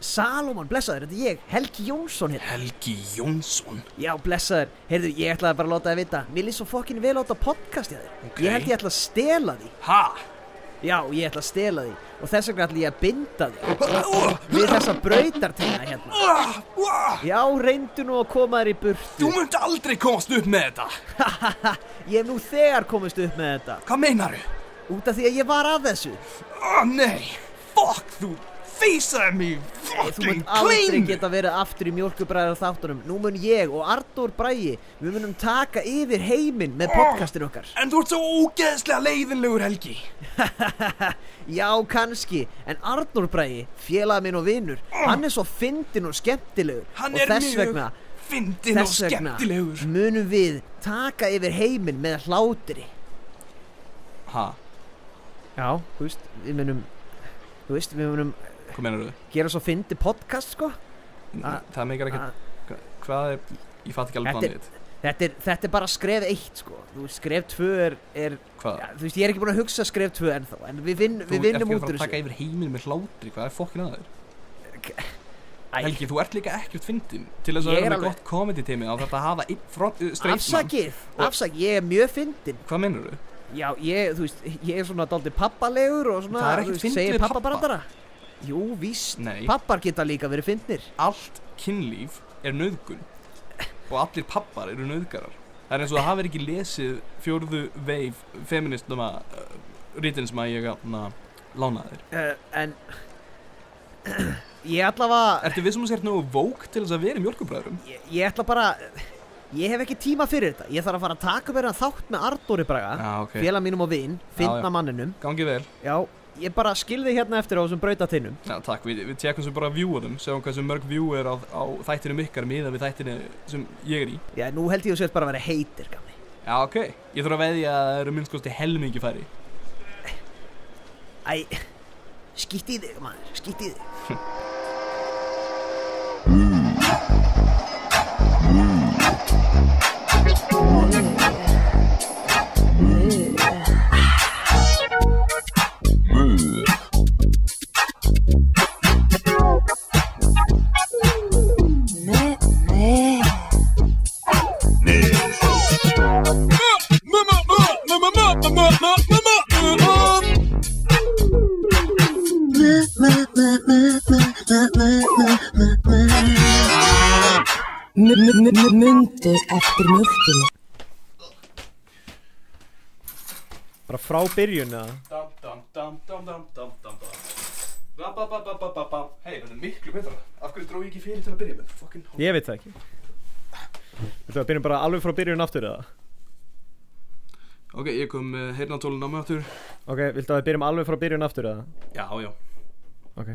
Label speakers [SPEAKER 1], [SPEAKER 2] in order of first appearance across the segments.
[SPEAKER 1] Salomon, blessaður, þetta er ég, Helgi Jónsson hérna. hér
[SPEAKER 2] Helgi Jónsson
[SPEAKER 1] Já, blessaður, heyrðu, ég ætlaði bara að láta það vita Mér líst svo fokkin vel átt á podcasti að þér
[SPEAKER 2] Ok.
[SPEAKER 1] Ég held ég ætla að stela því
[SPEAKER 2] Ha?
[SPEAKER 1] Já, ég ætla að stela því Og þess vegna ætla ég að binda því Við þessa brautartina hérna
[SPEAKER 2] Ah, ah,
[SPEAKER 1] Já, reyndu nú að koma þér í
[SPEAKER 2] Þú
[SPEAKER 1] burtu
[SPEAKER 2] munt aldrei komast upp með þetta
[SPEAKER 1] Ég hef nú þegar komist upp með þetta
[SPEAKER 2] Hvað meinaru?
[SPEAKER 1] Út af því að ég var að þessu
[SPEAKER 2] Ah, nei Fuck, þú feysaði mig
[SPEAKER 1] Nei, Þú
[SPEAKER 2] Fucking
[SPEAKER 1] munt aldrei
[SPEAKER 2] kleinu.
[SPEAKER 1] geta verið aftur í mjólkubræðar þáttunum Nú mun ég og Artur Brægi Við munum taka yfir heiminn með podcastin okkar
[SPEAKER 2] En þú ert svo ógeðslega leiðinlegur Helgi
[SPEAKER 1] Já, kannski, en Arnór Bræði, félagi minn og vinur, hann er svo fyndin og skemmtilegur
[SPEAKER 2] Ah. Hann
[SPEAKER 1] og
[SPEAKER 2] er
[SPEAKER 1] þess
[SPEAKER 2] mjög
[SPEAKER 1] vegna,
[SPEAKER 2] fyndin og
[SPEAKER 1] þess vegna
[SPEAKER 2] skemmtilegur
[SPEAKER 1] munum við taka yfir heiminn með hlátri.
[SPEAKER 2] Ha?
[SPEAKER 1] Já, þú veist, við munum, þú veist, við munum
[SPEAKER 2] Hvað meinaru?
[SPEAKER 1] gera svo fyndi podcast, sko. Ah,
[SPEAKER 2] Það meikar
[SPEAKER 1] Ah,
[SPEAKER 2] ekkert Hvað er Ég fatt ekki alveg
[SPEAKER 1] Þetta er-
[SPEAKER 2] planið þitt.
[SPEAKER 1] Þetta er, þetta er bara skref eitt, sko. Þú veist, skref tvö er, er
[SPEAKER 2] Hvað?
[SPEAKER 1] ja, þú veist, ég er ekki búin að hugsa skref tvö ennþá, en við, vinn,
[SPEAKER 2] Þú
[SPEAKER 1] við
[SPEAKER 2] ert
[SPEAKER 1] vinnum
[SPEAKER 2] ekki að
[SPEAKER 1] út
[SPEAKER 2] fara
[SPEAKER 1] úr
[SPEAKER 2] að taka
[SPEAKER 1] þessu.
[SPEAKER 2] yfir heiminn með hlátri Hvað er fokkin að þér?
[SPEAKER 1] Æ,
[SPEAKER 2] Helgi, þú ert líka ekkert fyndin Til þess að
[SPEAKER 1] Ég er
[SPEAKER 2] vera með
[SPEAKER 1] alveg-
[SPEAKER 2] gott comedy teimi á þetta að hafa einn front, uh, straight man
[SPEAKER 1] Afsakið, afsakið, ég er mjög fyndin.
[SPEAKER 2] Hvað meinar þú?
[SPEAKER 1] Já, ég, þú veist, ég er svona daldi pappalegur og svona
[SPEAKER 2] Það er ekkert
[SPEAKER 1] þú veist,
[SPEAKER 2] fyndið
[SPEAKER 1] segir
[SPEAKER 2] við
[SPEAKER 1] pappa
[SPEAKER 2] pabba.
[SPEAKER 1] bara bara Jú, víst,
[SPEAKER 2] Nei,
[SPEAKER 1] pappar geta líka verið fyndnir
[SPEAKER 2] allt kynlíf er nöðgun og allir pappar eru nöðgarar Það er eins og það hafi ekki lesið fjórðu veif feministnum að uh, rítin sem að ég aðna lánaði þér.
[SPEAKER 1] uh, En ég ætla að
[SPEAKER 2] Ertu við sem að sér nógu vók til þess að vera í mjölkubræðurum?
[SPEAKER 1] ég, ég ætla bara ég hef ekki tíma fyrir þetta ég þarf að fara að taka mér að þátt með Arnóri
[SPEAKER 2] Já,
[SPEAKER 1] Braga
[SPEAKER 2] Ah, ok.
[SPEAKER 1] félag mínum og vin,
[SPEAKER 2] Já, já.
[SPEAKER 1] fyndna manninum
[SPEAKER 2] Gangi vel.
[SPEAKER 1] Já, ég bara skilði hérna eftir á þessum brautatinnum
[SPEAKER 2] Já, takk. Við, við tekum svo bara vjúanum, segjum hversu mörg vjú er á, á þættinum ykkar miða við þættinu sem ég er í.
[SPEAKER 1] Já, nú held ég þú sért bara að vera heitir, gamli
[SPEAKER 2] Já, ok. Ég þarf að veðja að það eru minnskosti helmingi færi.
[SPEAKER 1] Æ, skýtt í þig, maður, skýtt í þig
[SPEAKER 3] Me, me. Mundur eftir mjölkinu
[SPEAKER 1] Bara frá byrjun, eða?
[SPEAKER 2] Dam, dam, dam, dam, dam, dam, dam, dam. Ba, ba, ba, ba, ba, ba, ba. Hei, þetta er miklu betra. Af hverju dró ég ekki fyrir til að byrja með? Fucking hó.
[SPEAKER 1] Ég veit það ekki Þú byrjum bara alveg frá byrjun aftur eða?
[SPEAKER 2] Ok, ég kom uh, heyrnatólun á mig áttur.
[SPEAKER 1] Ok, viltu að við byrjum alveg frá byrjun aftur eða?
[SPEAKER 2] Já, já.
[SPEAKER 1] Ok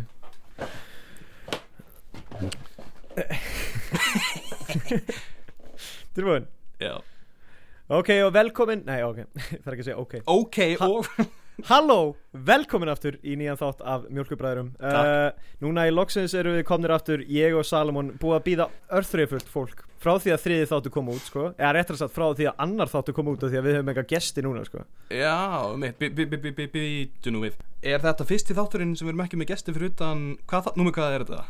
[SPEAKER 1] Tilbúin
[SPEAKER 2] Já.
[SPEAKER 1] Ok og velkomin, nei ok, það er ekki að segja ok
[SPEAKER 2] Ok, og...
[SPEAKER 1] Halló, velkomin aftur í nýjan þátt af Mjölkubræðurum
[SPEAKER 2] Takk.
[SPEAKER 1] Núna í loksins eru við komnir aftur, ég og Salomon búið að býða örþreifullt fólk Frá því að þriði þáttu kom út sko Eða réttar sagt frá því að annar þáttu kom út af Því að við höfum enga gesti núna sko
[SPEAKER 2] Já, mitt, býtu nú við. Er þetta fyrsti þátturinn sem við erum ekki með gesti fyrir utan... Hvað það... Númer hvað er þetta?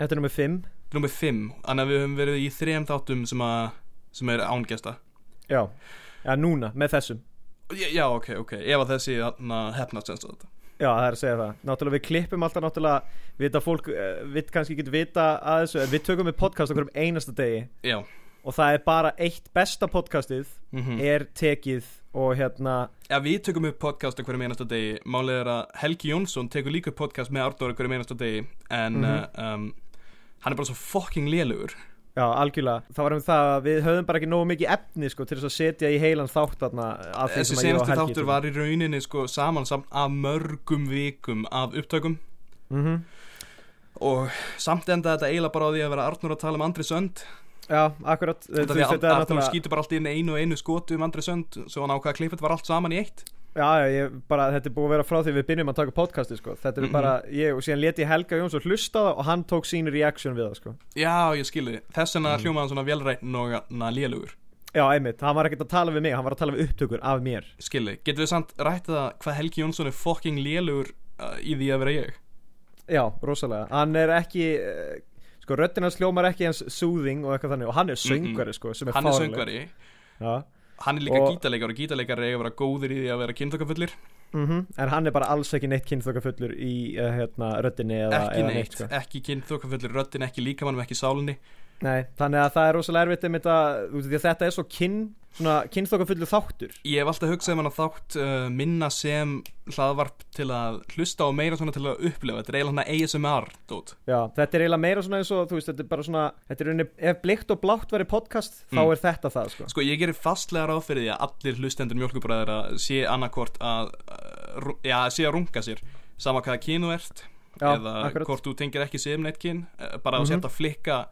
[SPEAKER 1] Þetta er nummer 5
[SPEAKER 2] Númer 5. Þannig að við höfum verið í þrem þáttum sem að... sem er ángesta.
[SPEAKER 1] Já, já núna, með þessum
[SPEAKER 2] Já, ok, ok. Ef að þessi hefnast eins og þetta.
[SPEAKER 1] Já, það er að segja það Náttúrulega við klippum alltaf náttúrulega Við þetta fólk, uh, við kannski getum vita að þessu En við tökum við podcast okkur um einasta degi
[SPEAKER 2] Já.
[SPEAKER 1] Og það er bara eitt besta podcastið
[SPEAKER 2] Mm
[SPEAKER 1] Er tekið og hérna
[SPEAKER 2] Já, við tökum upp podcast á hverjum einasta degi Málið er að Helgi Jónsson tekur líka upp podcast með Arnóra hverjum einasta degi En
[SPEAKER 1] Mhm.
[SPEAKER 2] uh, um, hann er bara svo fucking lélugur
[SPEAKER 1] Já, algjörlega Það var um það að við höfum bara ekki nógu mikið efni sko Til þess að setja í heilan þátt þarna að því
[SPEAKER 2] Þessi
[SPEAKER 1] sem að ég og
[SPEAKER 2] senasti
[SPEAKER 1] Helgi
[SPEAKER 2] þáttur
[SPEAKER 1] tökum.
[SPEAKER 2] var í rauninni sko samansamt af mörgum vikum af upptökum
[SPEAKER 1] Mhm.
[SPEAKER 2] Og samt enda þetta eiginlega bara á því að vera Arnór að tala um Andri Sönd
[SPEAKER 1] Já, akkurat Þú
[SPEAKER 2] Þetta því
[SPEAKER 1] veist,
[SPEAKER 2] að
[SPEAKER 1] þetta er
[SPEAKER 2] Arnór
[SPEAKER 1] náttúrulega
[SPEAKER 2] skýtur bara allt inn einu og einu skotu um Andri Sönd Svo hann ákvað að klippa þetta var allt saman í eitt
[SPEAKER 1] Já, já, ég bara, þetta er búið að vera frá því við byrjum að taka podcasti sko. Þetta er
[SPEAKER 2] Mhm.
[SPEAKER 1] bara, ég, og síðan leti ég Helga Jóns og hlusta á það og hann tók sín reaction við það sko.
[SPEAKER 2] Já, ég skilði Þess vegna
[SPEAKER 1] Mhm.
[SPEAKER 2] mm. hljómaðan svona velræn og hérna na, lélugur
[SPEAKER 1] Já, einmitt, hann var ekkert að tala við mig, hann var að tala við upptökur af mér
[SPEAKER 2] Skilði, getum við samt rætt það hvað Helgi Jónsson er fucking lélugur uh, í því að vera ég?
[SPEAKER 1] já, rosalega Hann er ekki, eh, sko, röddina sljómar ekki eins soothing og eitthvað þannig Og hann er söngvari, sko, sem er
[SPEAKER 2] Mhm. Hann er
[SPEAKER 1] fáránleg.
[SPEAKER 2] söngvari
[SPEAKER 1] Já,
[SPEAKER 2] Hann er líka
[SPEAKER 1] Og-
[SPEAKER 2] gítarleikar og gítarleikar eiga að vera góðir í því að vera kynþokkafullir
[SPEAKER 1] mhm En hann er bara alls ekki neitt kynþokafullur í, uh, hérna, röddinni eða,
[SPEAKER 2] Ekki
[SPEAKER 1] eða
[SPEAKER 2] neitt,
[SPEAKER 1] sko.
[SPEAKER 2] ekki kynþokkafullir röddin, ekki líkamannum, ekki sálinni
[SPEAKER 1] Nei, þannig að það er rosalega erfitt einmitt að, þú veist, því að þetta er svo kyn, svona kynþokafullur þáttur
[SPEAKER 2] Ég hef alltaf hugsað um hann að þátt uh, minna sem hlaðvarp til að hlusta og meira svona til að upplefa Þetta er eiginlega hann ASMR, dót
[SPEAKER 1] Já, þetta er eiginlega meira svona eins og, þú veist, þetta er bara svona, þetta er unni, ef blikt og blátt væri podcast, þá
[SPEAKER 2] Mm.
[SPEAKER 1] er þetta það, sko
[SPEAKER 2] Sko, ég gerir fastlega ráð fyrir því að allir hlustendur mjölkubræðir að sé annarkvort að, uh, ru- já, sé að runga sér sama hvaða kynu ert
[SPEAKER 1] Já,
[SPEAKER 2] eða
[SPEAKER 1] akkurat.
[SPEAKER 2] hvort þú tengir ekki sem neitt kyn eh, bara
[SPEAKER 1] Mhm.
[SPEAKER 2] að þú sért að flikka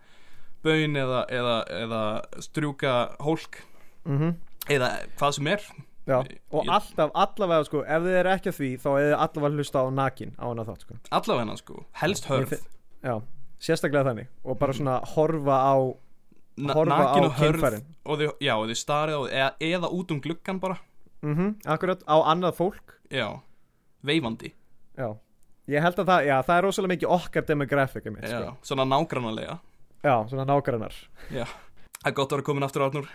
[SPEAKER 2] bön eða, eða, eða strjúka hólk
[SPEAKER 1] mm
[SPEAKER 2] eða hvað sem er
[SPEAKER 1] Já,
[SPEAKER 2] Ég-
[SPEAKER 1] og
[SPEAKER 2] ég-
[SPEAKER 1] alltaf, allavega sko, ef þið eru ekki að því þá er þið allavega að hlusta á nakin á hana þátt sko.
[SPEAKER 2] allavega hennan sko, helst hörð
[SPEAKER 1] Ég Já, sérstaklega þannig og bara svona horfa á
[SPEAKER 2] Na-
[SPEAKER 1] horfa á
[SPEAKER 2] nakin og hörð
[SPEAKER 1] kynfærin.
[SPEAKER 2] og þið, já, og þið starið á, eða, eða út um gluggan bara
[SPEAKER 1] mm akkurat á annað fólk
[SPEAKER 2] já, veifandi
[SPEAKER 1] Já, ég held að það, já, það er rosalega mikið okkar demografika mitt
[SPEAKER 2] já,
[SPEAKER 1] sko.
[SPEAKER 2] svona nágrannalega
[SPEAKER 1] Já, svona nágrannar
[SPEAKER 2] það er gott að vera komin aftur átnur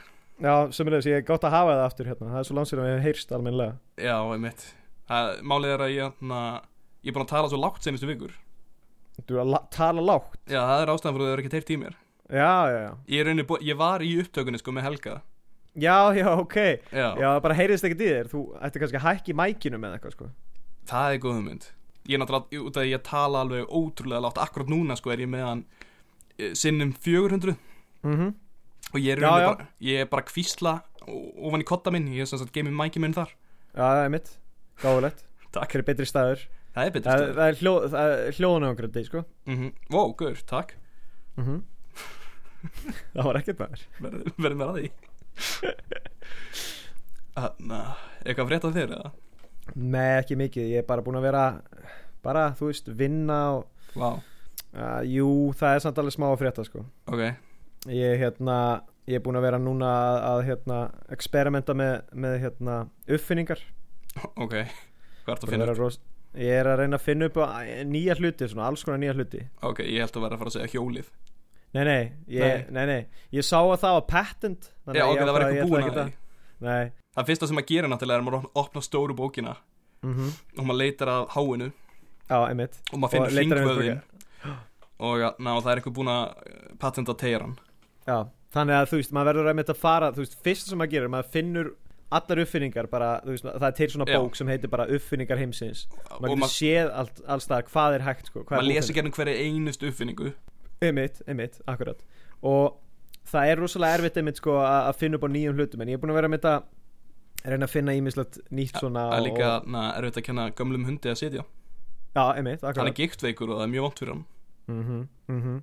[SPEAKER 1] Já, sömulegis, ég er gott að hafa það aftur hérna það er svo lansir að við hefum heyrst almennilega
[SPEAKER 2] já, einmitt það, málið er að ég, na, ég er búin að tala svo lágt seinustu vikur
[SPEAKER 1] Þú er að la- tala lágt
[SPEAKER 2] já, það er ástæðan fyrir að það er ekki teirt í mér
[SPEAKER 1] Já, já, já,
[SPEAKER 2] ég, er rauninni bú- ég var í upptökunni sko með Helga
[SPEAKER 1] já, já, ok
[SPEAKER 2] já,
[SPEAKER 1] Já, það bara heyrðist ekkert í þér, þú ætti kannski að hækki mækinum eða eitthvað sko
[SPEAKER 2] það er góð hugmynd ég er náttúrulega, út af því að ég tala alveg ótrúlega lágt akkurat núna sko er ég með hann eh, sinnum 400
[SPEAKER 1] mm
[SPEAKER 2] og ég er,
[SPEAKER 1] Já,
[SPEAKER 2] já,
[SPEAKER 1] já.
[SPEAKER 2] Bara, ég er bara að kvísla o- ofan í kotta minn, ég er sem sagt geimið mæki minn þar
[SPEAKER 1] Já, það er mitt, gáfulegt
[SPEAKER 2] Takk.
[SPEAKER 1] Hver er betri staður
[SPEAKER 2] það er betur sko.
[SPEAKER 1] Það,
[SPEAKER 2] stöð
[SPEAKER 1] það er, hljó, það er hljóðan á einhverjum degi, sko
[SPEAKER 2] mm -hmm. wow, gaur, takk
[SPEAKER 1] Það var ekkert maður
[SPEAKER 2] verðum verð mér að því Anna, eitthvað frétt af þér eða?
[SPEAKER 1] Nei, ekki mikið, ég er bara búin að vera Bara, þú veist, vinna og
[SPEAKER 2] Vá,
[SPEAKER 1] uh, Jú, það er samt alveg smá að frétta, sko
[SPEAKER 2] ok
[SPEAKER 1] Ég, hérna, ég er búin að vera núna að, að hérna, experimenta með, með hérna, uppfinningar
[SPEAKER 2] Ok, hvað ertu að
[SPEAKER 1] Búin
[SPEAKER 2] finna
[SPEAKER 1] að
[SPEAKER 2] upp?
[SPEAKER 1] vera ros- Ég er að reyna að finna upp á- nýja hluti, svona alls konar nýja hluti
[SPEAKER 2] Ok, ég held að vera að fara að segja hjólið
[SPEAKER 1] Nei, nei, ég, nei. Nei, ég sá að það var patent þannig
[SPEAKER 2] Já,
[SPEAKER 1] að
[SPEAKER 2] ok,
[SPEAKER 1] ég
[SPEAKER 2] það var
[SPEAKER 1] ákvað að ég
[SPEAKER 2] eitthvað
[SPEAKER 1] ætla
[SPEAKER 2] búin að
[SPEAKER 1] ekkert
[SPEAKER 2] því
[SPEAKER 1] Nei,
[SPEAKER 2] Það fyrsta sem maður gerir náttúrulega er að maður opna stóru bókina
[SPEAKER 1] mhm,
[SPEAKER 2] og maður leitar að háinu
[SPEAKER 1] já, einmitt
[SPEAKER 2] og
[SPEAKER 1] Og
[SPEAKER 2] maður finnur
[SPEAKER 1] leitar að
[SPEAKER 2] hringvöðin og ja, ná, það er eitthvað búin að eh, patenta teiran
[SPEAKER 1] Já, þannig að þú veist, maður verður einmitt að fara þú veist, fyrst sem maður gerir, maður finnur allar uppfinningar bara, þú veist, það er til svona
[SPEAKER 2] Já.
[SPEAKER 1] bók sem heitir bara uppfinningar heimsins
[SPEAKER 2] og
[SPEAKER 1] maður
[SPEAKER 2] maður,
[SPEAKER 1] getur séð allt, alls það hvað er hægt sko, hvað
[SPEAKER 2] maður
[SPEAKER 1] er
[SPEAKER 2] lesi gernum hverja einustu uppfinningu
[SPEAKER 1] óþarft. einmitt, einmitt, akkurat og það er rosalega erfitt einmitt sko að að finna upp á nýjum hlutum en ég er búin að vera einmitt að reyna að finna ímislegt nýtt svona
[SPEAKER 2] Það er líka
[SPEAKER 1] og,
[SPEAKER 2] na, er auðvitað að kenna gömlum hundi að sitja
[SPEAKER 1] já, einmitt,
[SPEAKER 2] Hann
[SPEAKER 1] akkurat
[SPEAKER 2] er giktveikur og það er mjög vant fyrir hann
[SPEAKER 1] mhm, mhm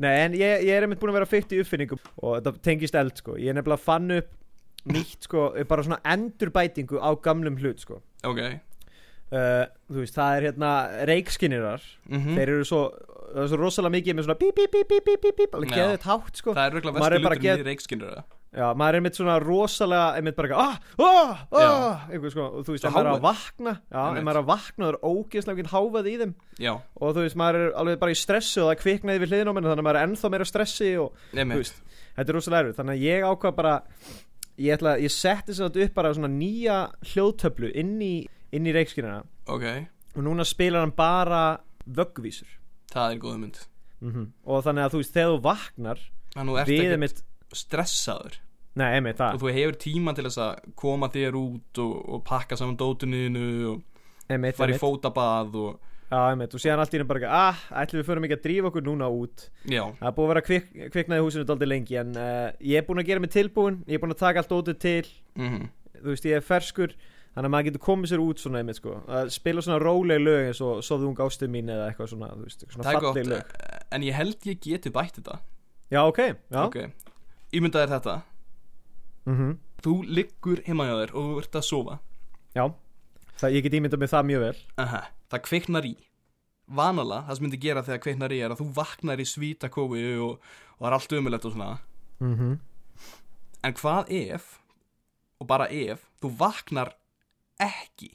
[SPEAKER 1] Nei, en ég, ég er einmitt búin að vera fyrst í uppfinningum og þetta tengist eld, sko. Ég er nefnilega að fann upp nýtt, sko, bara svona endurbætingu á gamlum hlut, sko.
[SPEAKER 2] Ok,
[SPEAKER 1] uh, þú veist, það er hérna reikskinirar,
[SPEAKER 2] mm
[SPEAKER 1] þeir eru svo það er svo rosalega mikið með svona bíp, bíp, bíp, bíp, bíp, bíp, bíp, alveg
[SPEAKER 2] Já.
[SPEAKER 1] geðið tátt, sko
[SPEAKER 2] það er auðvitað
[SPEAKER 1] Maður er
[SPEAKER 2] vestu
[SPEAKER 1] bara
[SPEAKER 2] lutur
[SPEAKER 1] að
[SPEAKER 2] get... í reikskinur
[SPEAKER 1] já, maður er einmitt svona rosalega, einmitt bara eitthvað, ah, ah, ah, einhver sko, og þú veist,
[SPEAKER 2] Svo
[SPEAKER 1] ef maður er
[SPEAKER 2] hávaði.
[SPEAKER 1] að vakna já, ef
[SPEAKER 2] Einmitt.
[SPEAKER 1] maður er að vakna, það er ógeðslega mikið háfað í þeim
[SPEAKER 2] Já,
[SPEAKER 1] og þú veist, maður er alveg bara í stressi og það kviknaði við hliðin á menn, þannig að maður er ennþá meira stressi og Þú
[SPEAKER 2] nefnir
[SPEAKER 1] veist. þetta er rosalega erfið þannig að ég ákvað bara ég, ætla, ég setti sér upp bara svona nýja hljóðtöflu inn í, inn í reikskinnina
[SPEAKER 2] Ok,
[SPEAKER 1] og núna spilar hann bara vöggvísur
[SPEAKER 2] það er góð mynd Mhm.
[SPEAKER 1] og þannig að þú veist þegar þú vaknar
[SPEAKER 2] Þannig að þú
[SPEAKER 1] við
[SPEAKER 2] ert
[SPEAKER 1] er mitt
[SPEAKER 2] ekki stressaður
[SPEAKER 1] nei, emitt
[SPEAKER 2] og
[SPEAKER 1] það
[SPEAKER 2] þú hefur tíma til þess að koma þér út og, og pakka saman dótuninu og
[SPEAKER 1] emitt,
[SPEAKER 2] fara í
[SPEAKER 1] emitt
[SPEAKER 2] fótabað og
[SPEAKER 1] já, emitt og síðan allt í henni bara ekki, ah, ætlum við förum ekki að drífa okkur núna út
[SPEAKER 2] já,
[SPEAKER 1] það er búið að vera kvik, kviknaði húsinu daldið lengi en uh, ég er búin að gera mig tilbúin ég er búin að taka allt ótið til
[SPEAKER 2] mm
[SPEAKER 1] þú veist, ég er ferskur þannig að maður getur komið sér út svona emitt sko að spila svona róleg lög eins og Sofðung ástuð mín eða eitthvað svona, þú veist, eitthvað
[SPEAKER 2] það er
[SPEAKER 1] svona
[SPEAKER 2] gott eh?
[SPEAKER 1] falleg lög
[SPEAKER 2] en ég held ég geti bætt þetta
[SPEAKER 1] já, ok, já
[SPEAKER 2] ok, ímynda þér þetta
[SPEAKER 1] mhm,
[SPEAKER 2] þú liggur heima hjá þér og þú ert að sofa
[SPEAKER 1] já það, ég get ímyndað mér það mjög vel
[SPEAKER 2] Aha, það kviknar í vanalega, það sem myndi gera þegar kviknar í er að þú vaknar í svítakófi og, og það er allt umulegt og svona
[SPEAKER 1] mhm,
[SPEAKER 2] en hvað ef og bara ef, þú vaknar ekki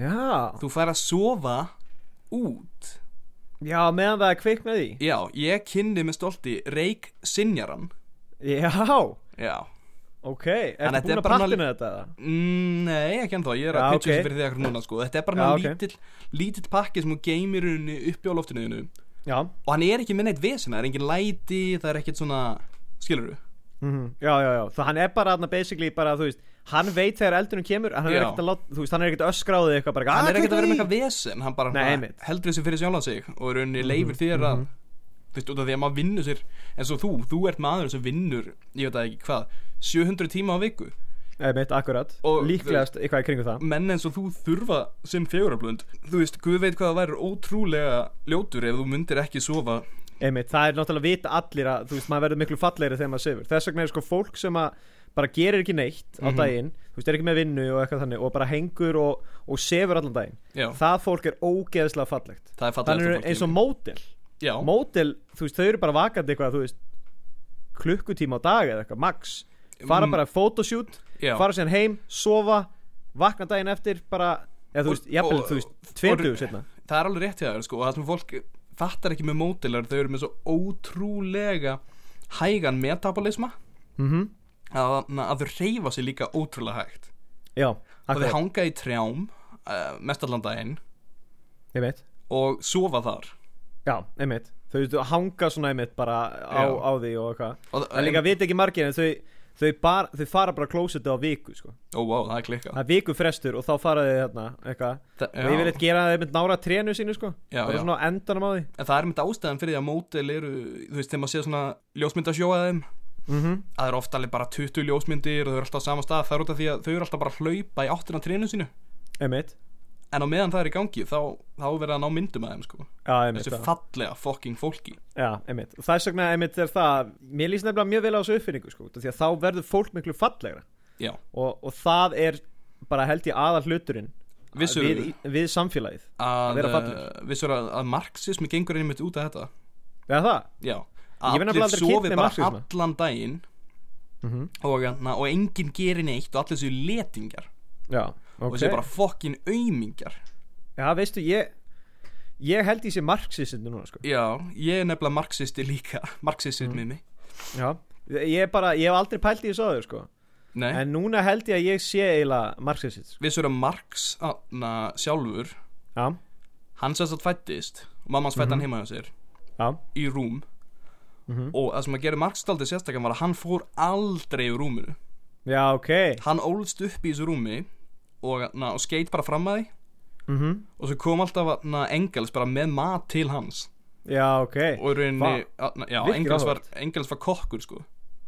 [SPEAKER 1] já
[SPEAKER 2] þú fær að sofa út
[SPEAKER 1] Já, meðan það er kviknað í
[SPEAKER 2] Já, ég kynni með stolti Reik Sinjaran
[SPEAKER 1] Já,
[SPEAKER 2] Já
[SPEAKER 1] ok Ertu
[SPEAKER 2] þetta
[SPEAKER 1] búin
[SPEAKER 2] er
[SPEAKER 1] að
[SPEAKER 2] bara svona-
[SPEAKER 1] pakkina þetta? eða?
[SPEAKER 2] Mm, Nei, ekki ennþá, ég er að
[SPEAKER 1] Já,
[SPEAKER 2] pitcha þessu
[SPEAKER 1] ok.
[SPEAKER 2] fyrir því akkur núna sko. Þetta er bara
[SPEAKER 1] Já,
[SPEAKER 2] ja,
[SPEAKER 1] ok.
[SPEAKER 2] lítill, lítill pakki sem hún geymir unni uppi á loftinuðinu
[SPEAKER 1] Já,
[SPEAKER 2] Og hann er ekki með neitt vesina, það er engin læti, það er ekkert svona, skilur du?
[SPEAKER 1] Mhm, já, já, já, það hann er bara hann basically bara, þú veist, hann veit þegar eldunum kemur, en hann er
[SPEAKER 2] Já.
[SPEAKER 1] ekkert að láta, þú veist, hann er ekkert öskráðið eitthvað bara,
[SPEAKER 2] Hann er ekkert að vera með
[SPEAKER 1] kveiktu í!"
[SPEAKER 2] eitthvað vesen, hann bara
[SPEAKER 1] Ah, Nei,
[SPEAKER 2] svona
[SPEAKER 1] einmitt. Mhm,
[SPEAKER 2] heldur þessu fyrir sjálfan sig Og í rauninni leifir þér að, þú veist, út af því að maður vinnur sér En svo þú, þú ert maður sem vinnur, ég veit það ekki hvað, 700 tíma á viku
[SPEAKER 1] Einmitt, akkurat,
[SPEAKER 2] Og-
[SPEAKER 1] líklegast eitthvað í kringu það
[SPEAKER 2] menn eins og þú þurfa sem fegurarblönd þú veist, guð veit hvað það væri ótrúlega ljótur ef þú myndir ekki sofa
[SPEAKER 1] Einmitt, það er náttúrulega vita allir að þú veist, maður verður miklu fallegri þegar maður sefur þess vegna er sko fólk sem að bara gerir ekki neitt á
[SPEAKER 2] Mhm.
[SPEAKER 1] daginn, þú veist, er ekki með vinnu og eitthvað þannig og bara hengur og, og sefur allan daginn
[SPEAKER 2] já,
[SPEAKER 1] það fólk er ógeðslega fallegt
[SPEAKER 2] það
[SPEAKER 1] þannig
[SPEAKER 2] er fallið
[SPEAKER 1] eru eins og módel
[SPEAKER 2] já,
[SPEAKER 1] módel, þú veist, þau eru bara vakandi eitthvað, þú veist klukkutíma á dag eða eitthvað, max fara
[SPEAKER 2] Mm,
[SPEAKER 1] bara photoshoot,
[SPEAKER 2] já.
[SPEAKER 1] fara síðan heim sofa, vakna daginn eftir bara, eða þú
[SPEAKER 2] Og-
[SPEAKER 1] veist, jafnvel,
[SPEAKER 2] og-
[SPEAKER 1] þú veist, tveimtugu setna
[SPEAKER 2] það er alveg rétt hjá þér sko, og það sem fólk fattar ekki með mótilar þau eru með svo ótrúlega hægan metabolisma
[SPEAKER 1] mm
[SPEAKER 2] að, að þau reyfa sig líka ótrúlega hægt
[SPEAKER 1] já,
[SPEAKER 2] og þau
[SPEAKER 1] akkurat,
[SPEAKER 2] hanga í trjám uh, mestallan daginn
[SPEAKER 1] ég veit
[SPEAKER 2] og sofa þar
[SPEAKER 1] Já, einmitt Þau veist, hanga svona einmitt bara á,
[SPEAKER 2] Já.
[SPEAKER 1] á því og eitthvað
[SPEAKER 2] og,
[SPEAKER 1] En líka veit ekki margir en þau, þau, bar, þau fara bara klósetu á viku sko.
[SPEAKER 2] ó, wow, það er klikkað
[SPEAKER 1] Það er viku frestur og þá fara þau þarna eitthvað
[SPEAKER 2] Það-
[SPEAKER 1] Og ég vil
[SPEAKER 2] já.
[SPEAKER 1] eitt gera það einmitt nára trénu sínu sko
[SPEAKER 2] Já,
[SPEAKER 1] Bara
[SPEAKER 2] já.
[SPEAKER 1] svona á endanum á því
[SPEAKER 2] En það er mitt ástæðan fyrir því að mótil eru, þú veist, þegar maður sé svona ljósmyndasjóaðum,
[SPEAKER 1] mm -hmm.
[SPEAKER 2] að það eru ofta alveg bara 20 ljósmyndir og þau eru alltaf á sama stað, það er út af því að þau eru alltaf bara að hlaupa í áttina að trénu sínu.
[SPEAKER 1] Einmitt
[SPEAKER 2] En á meðan það er í gangi, þá, þá er verið að ná myndum að þeim, sko.
[SPEAKER 1] Já, einmitt
[SPEAKER 2] Þessu
[SPEAKER 1] já.
[SPEAKER 2] fallega fucking fólki.
[SPEAKER 1] Já, einmitt Og Þess vegna einmitt er það Mér lýst nefnilega mjög vel á þessu uppfinningu sko út af Því að þá verður fólk miklu fallegra
[SPEAKER 2] Já.
[SPEAKER 1] Og, og það er bara held ég aðal hluturinn
[SPEAKER 2] Vissur
[SPEAKER 1] við, í- við samfélagið
[SPEAKER 2] að,
[SPEAKER 1] vera
[SPEAKER 2] að,
[SPEAKER 1] fallegur.
[SPEAKER 2] vissur að, að marxismi gengur einmitt út af þetta.
[SPEAKER 1] Eða það?
[SPEAKER 2] Já.
[SPEAKER 1] Ég hef
[SPEAKER 2] Að
[SPEAKER 1] nefnilega
[SPEAKER 2] allir
[SPEAKER 1] aldrei kynnt
[SPEAKER 2] sofi
[SPEAKER 1] mér
[SPEAKER 2] bara
[SPEAKER 1] marxisma.
[SPEAKER 2] allan daginn
[SPEAKER 1] Mm
[SPEAKER 2] og, na, og enginn gerir neitt og allir séu letingar
[SPEAKER 1] Já, ok
[SPEAKER 2] og séu bara fucking aumingar.
[SPEAKER 1] Já, veistu, ég Ég held í sér marxistindu núna, sko
[SPEAKER 2] Já, ég er nefnilega marxisti líka, marxistið
[SPEAKER 1] Mhm.
[SPEAKER 2] mm. mig.
[SPEAKER 1] Já Ég er bara, ég hef aldrei pælt í þessu aður, sko
[SPEAKER 2] Nei.
[SPEAKER 1] En núna held ég að ég sé eiginlega marxistist, sko
[SPEAKER 2] við svo erum Marx na, sjálfur
[SPEAKER 1] Já,
[SPEAKER 2] hann sem þetta fættist og mamma hans fætti
[SPEAKER 1] Mhm.
[SPEAKER 2] hann heima hjá sér
[SPEAKER 1] já
[SPEAKER 2] í rúm
[SPEAKER 1] Mhm.
[SPEAKER 2] og það sem að gera Marx staldið sérstakann var að hann fór aldrei úr rúminu
[SPEAKER 1] Já, ok
[SPEAKER 2] hann ólst upp í þessu rúmi og, na, og skeit bara fram að því
[SPEAKER 1] mm
[SPEAKER 2] og svo kom alltaf na, Engels bara með mat til hans
[SPEAKER 1] Já, ok
[SPEAKER 2] og í rauninni, að, na, já,
[SPEAKER 1] Virkilega
[SPEAKER 2] Engels var,
[SPEAKER 1] áhugavert.
[SPEAKER 2] Engels var kokkur sko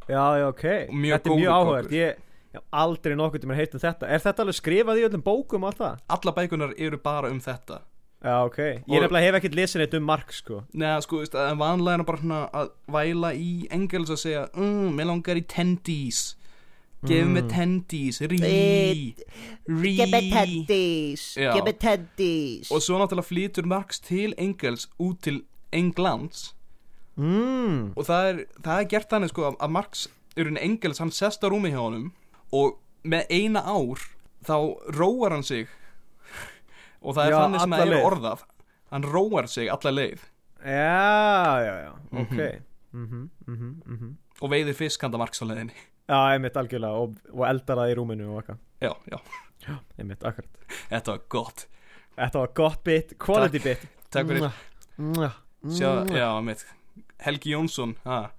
[SPEAKER 1] Já, já, ok
[SPEAKER 2] mjög
[SPEAKER 1] Þetta er mjög
[SPEAKER 2] góður
[SPEAKER 1] áhugavert
[SPEAKER 2] kokkur.
[SPEAKER 1] Ég ég hef aldrei nokkuð til mér heitt um þetta Er þetta alveg skrifað í öllum bókum og allt það?
[SPEAKER 2] alla bækunar eru bara um þetta
[SPEAKER 1] Já, ok Ég
[SPEAKER 2] Og-
[SPEAKER 1] nefnilega hef ekkert lesin eitt um marx, sko
[SPEAKER 2] Neða, sko, veist, að vanlega er hann bara svona að væla í Engels að segja mm, Mér langar í tendís Gef
[SPEAKER 1] Mm.
[SPEAKER 2] mér tendís, rí
[SPEAKER 4] Veit,
[SPEAKER 2] Rí
[SPEAKER 4] Give me teddies.
[SPEAKER 2] Já.
[SPEAKER 4] Give me teddies.
[SPEAKER 2] Og svo náttúrulega flýtur Marx til Engels út til Englands
[SPEAKER 1] mm.
[SPEAKER 2] Og það er, það er gert þannig, sko, að- að Marx er unni Engels, hann sest á rúmi hjá honum Og með eina ár þá róar hann sig Og það er
[SPEAKER 1] Já,
[SPEAKER 2] þannig sem
[SPEAKER 1] alla
[SPEAKER 2] það er
[SPEAKER 1] leið.
[SPEAKER 2] orðað Hann róar sig alla leið
[SPEAKER 1] Já, já, já, ok
[SPEAKER 2] Mhm.
[SPEAKER 1] Mhm, mhm, mhm
[SPEAKER 2] Og veiðir fisk handa Marx á leiðinni
[SPEAKER 1] Já, einmitt algjörlega og, og eldar það í rúminu og eitthvað
[SPEAKER 2] Já, já,
[SPEAKER 1] Einmitt, akkurat
[SPEAKER 2] þetta var gott
[SPEAKER 1] Þetta var gott bit, quality
[SPEAKER 2] Takk fyrir
[SPEAKER 1] bit
[SPEAKER 2] Sjá, já, mitt Helgi Jónsson ha,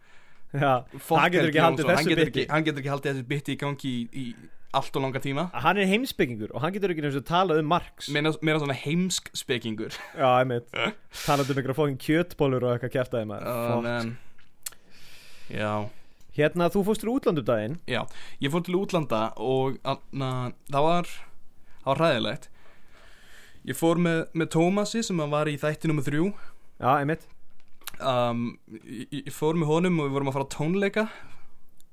[SPEAKER 1] Já,
[SPEAKER 2] fuck
[SPEAKER 1] Hann getur
[SPEAKER 2] Helgi
[SPEAKER 1] ekki haldið
[SPEAKER 2] Jónsson,
[SPEAKER 1] þessu
[SPEAKER 2] hann getur
[SPEAKER 1] biti.
[SPEAKER 2] ekki, hann getur ekki haldið þessu bytti í gangi í, í allt og langa tíma
[SPEAKER 1] Hann er heimsbyggingur og hann getur ekki nefnst að tala um Marx
[SPEAKER 2] Meina, meina svona heimsk spekingur
[SPEAKER 1] Já, einmitt Talandi um einhverja fókin kjötbólur og eitthvað kjæftaði maður
[SPEAKER 2] uh,
[SPEAKER 1] Fuck.
[SPEAKER 2] en, Já,
[SPEAKER 1] Hérna, þú fórst til útlandum daginn
[SPEAKER 2] já Ég fór til útlanda og na, það var það var hræðilegt Ég fór með, með Tómasi sem að var í þætti nummer þrjú
[SPEAKER 1] Já, einmitt,
[SPEAKER 2] um, ég, ég fór með honum og við vorum að fara á tónleika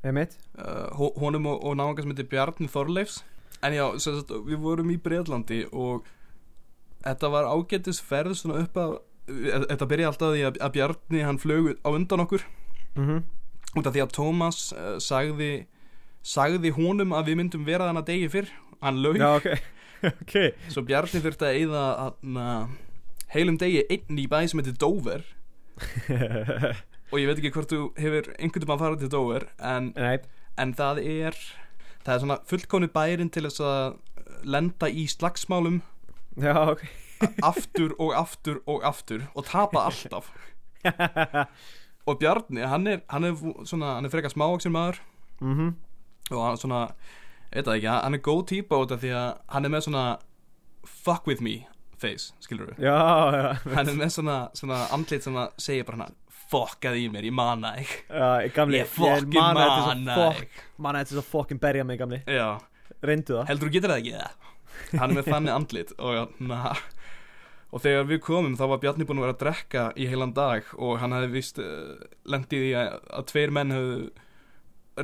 [SPEAKER 1] einmitt
[SPEAKER 2] uh, hó- honum og, og náunga sem heitir Bjarni Þorleifs en já, sem sagt, við vorum í Breitlandi og þetta var ágætis ferð svona upp að eh, þetta byrja alltaf á því að, að Bjarni hann flög á undan okkur
[SPEAKER 1] mm
[SPEAKER 2] út af því að Tómas uh, sagði sagði honum að við myndum vera þannig degi fyrr hann laug,
[SPEAKER 1] Já, ok Ok,
[SPEAKER 2] svo Bjarni þurfti að eyða að, heilum degi einn í bæ sem heitir Dover og ég veit ekki hvort þú hefur einhvern veginn að fara til Dover en,
[SPEAKER 1] Nei,
[SPEAKER 2] en það er það er svona fullkomni bærin til þess að lenda í slagsmálum
[SPEAKER 1] já, ok
[SPEAKER 2] aftur og aftur og aftur og tapa alltaf og Bjarni, hann er, hann er svona, hann er frekar smávaksinn maður
[SPEAKER 1] mm
[SPEAKER 2] og hann svona, ég veit það ekki, hann er góð típa út af því að hann er með svona fuck with me face, skilur við
[SPEAKER 1] Já, já,
[SPEAKER 2] hann er með svona, svona andlit sem að segja bara hann fokkaði í mér, ég mana þig
[SPEAKER 1] já Gamli,
[SPEAKER 2] ég fokkin
[SPEAKER 1] man að þetta
[SPEAKER 2] mana
[SPEAKER 1] svo fokk
[SPEAKER 2] þig
[SPEAKER 1] Man að þetta svo fokkin berja mig, gamli
[SPEAKER 2] já,
[SPEAKER 1] Reyndu það
[SPEAKER 2] heldur þú getur það ekki það hann er með þannig andlit og, na, og þegar við komum þá var Bjarni búinn að vera að drekka í heilan dag og hann hefði vist uh, lendið í því að, að tveir menn hefðu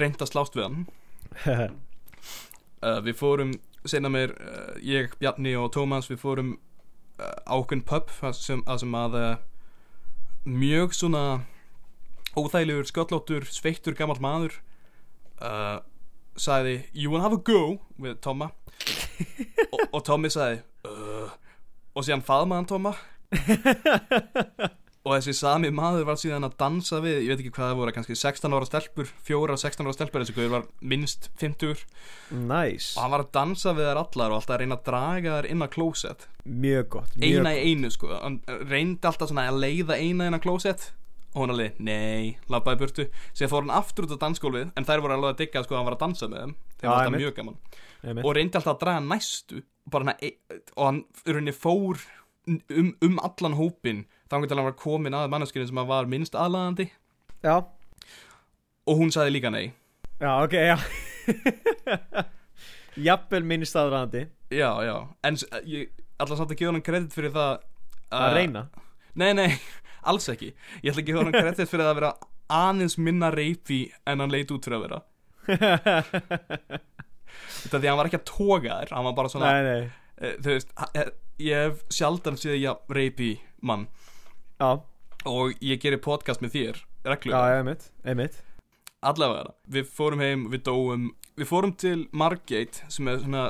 [SPEAKER 2] reynd að slást við hann uh, við fórum sena mér, uh, ég, Bjarni og Tómas við fórum uh, ákveðn pub að sem að, sem að uh, mjög svona óþægilegur, sköllóttur, sveittur gammal maður uh, sagði you wanna have a go við Tomma og, og Tommi sagði uh, og síðan faðmaði hann Tomma og þessi sami maður var síðan að dansa við ég veit ekki hvað það voru, kannski 16 ára stelpur fjóra 16 ára stelpur, þessi guður var minnst 50
[SPEAKER 1] Næs
[SPEAKER 2] og hann var að dansa við þær allar og alltaf að reyna að draga þær inn á klósett
[SPEAKER 1] Mjög gott mjög
[SPEAKER 2] eina í einu sko hann reyndi alltaf svona að leiða eina inn á klósett og hún alveg, nei, labbaði burtu síðan fór hann aftur út á dansgólfið en þær voru alveg að digga sko að hann var að dansa með þeim þeim
[SPEAKER 1] Já,
[SPEAKER 2] var alltaf
[SPEAKER 1] einmitt.
[SPEAKER 2] mjög gaman
[SPEAKER 1] Einmitt.
[SPEAKER 2] og reyndi alltaf að draga næstu bara hann að, og hann í rauninni fór um, um allan hópin þannig að hann var komin að manneskinu sem hann var minnst aðlaðandi
[SPEAKER 1] Já,
[SPEAKER 2] og hún sagði líka nei
[SPEAKER 1] já, ok, já Jafnvel minn staðræðandi
[SPEAKER 2] já, já, en s- ég alltaf samt að gefa hann kredit fyrir það
[SPEAKER 1] Að
[SPEAKER 2] uh,
[SPEAKER 1] reyna
[SPEAKER 2] Nei, nei, alls ekki Ég ætla ekki að hafa hann kredit fyrir að vera aðeins minna reypi en hann leit út fyrir að vera Þetta því að hann var ekki að toga þær Hann var bara svona,
[SPEAKER 1] Nei, nei
[SPEAKER 2] uh, þú veist ha- eh, Ég hef sjaldan séð ég reypi mann
[SPEAKER 1] Já,
[SPEAKER 2] Og ég gerir podcast með þér,
[SPEAKER 1] já,
[SPEAKER 2] reglulega
[SPEAKER 1] einmitt Einmitt
[SPEAKER 2] Allavega, við fórum heim, við dóum Við fórum til Margate sem er svona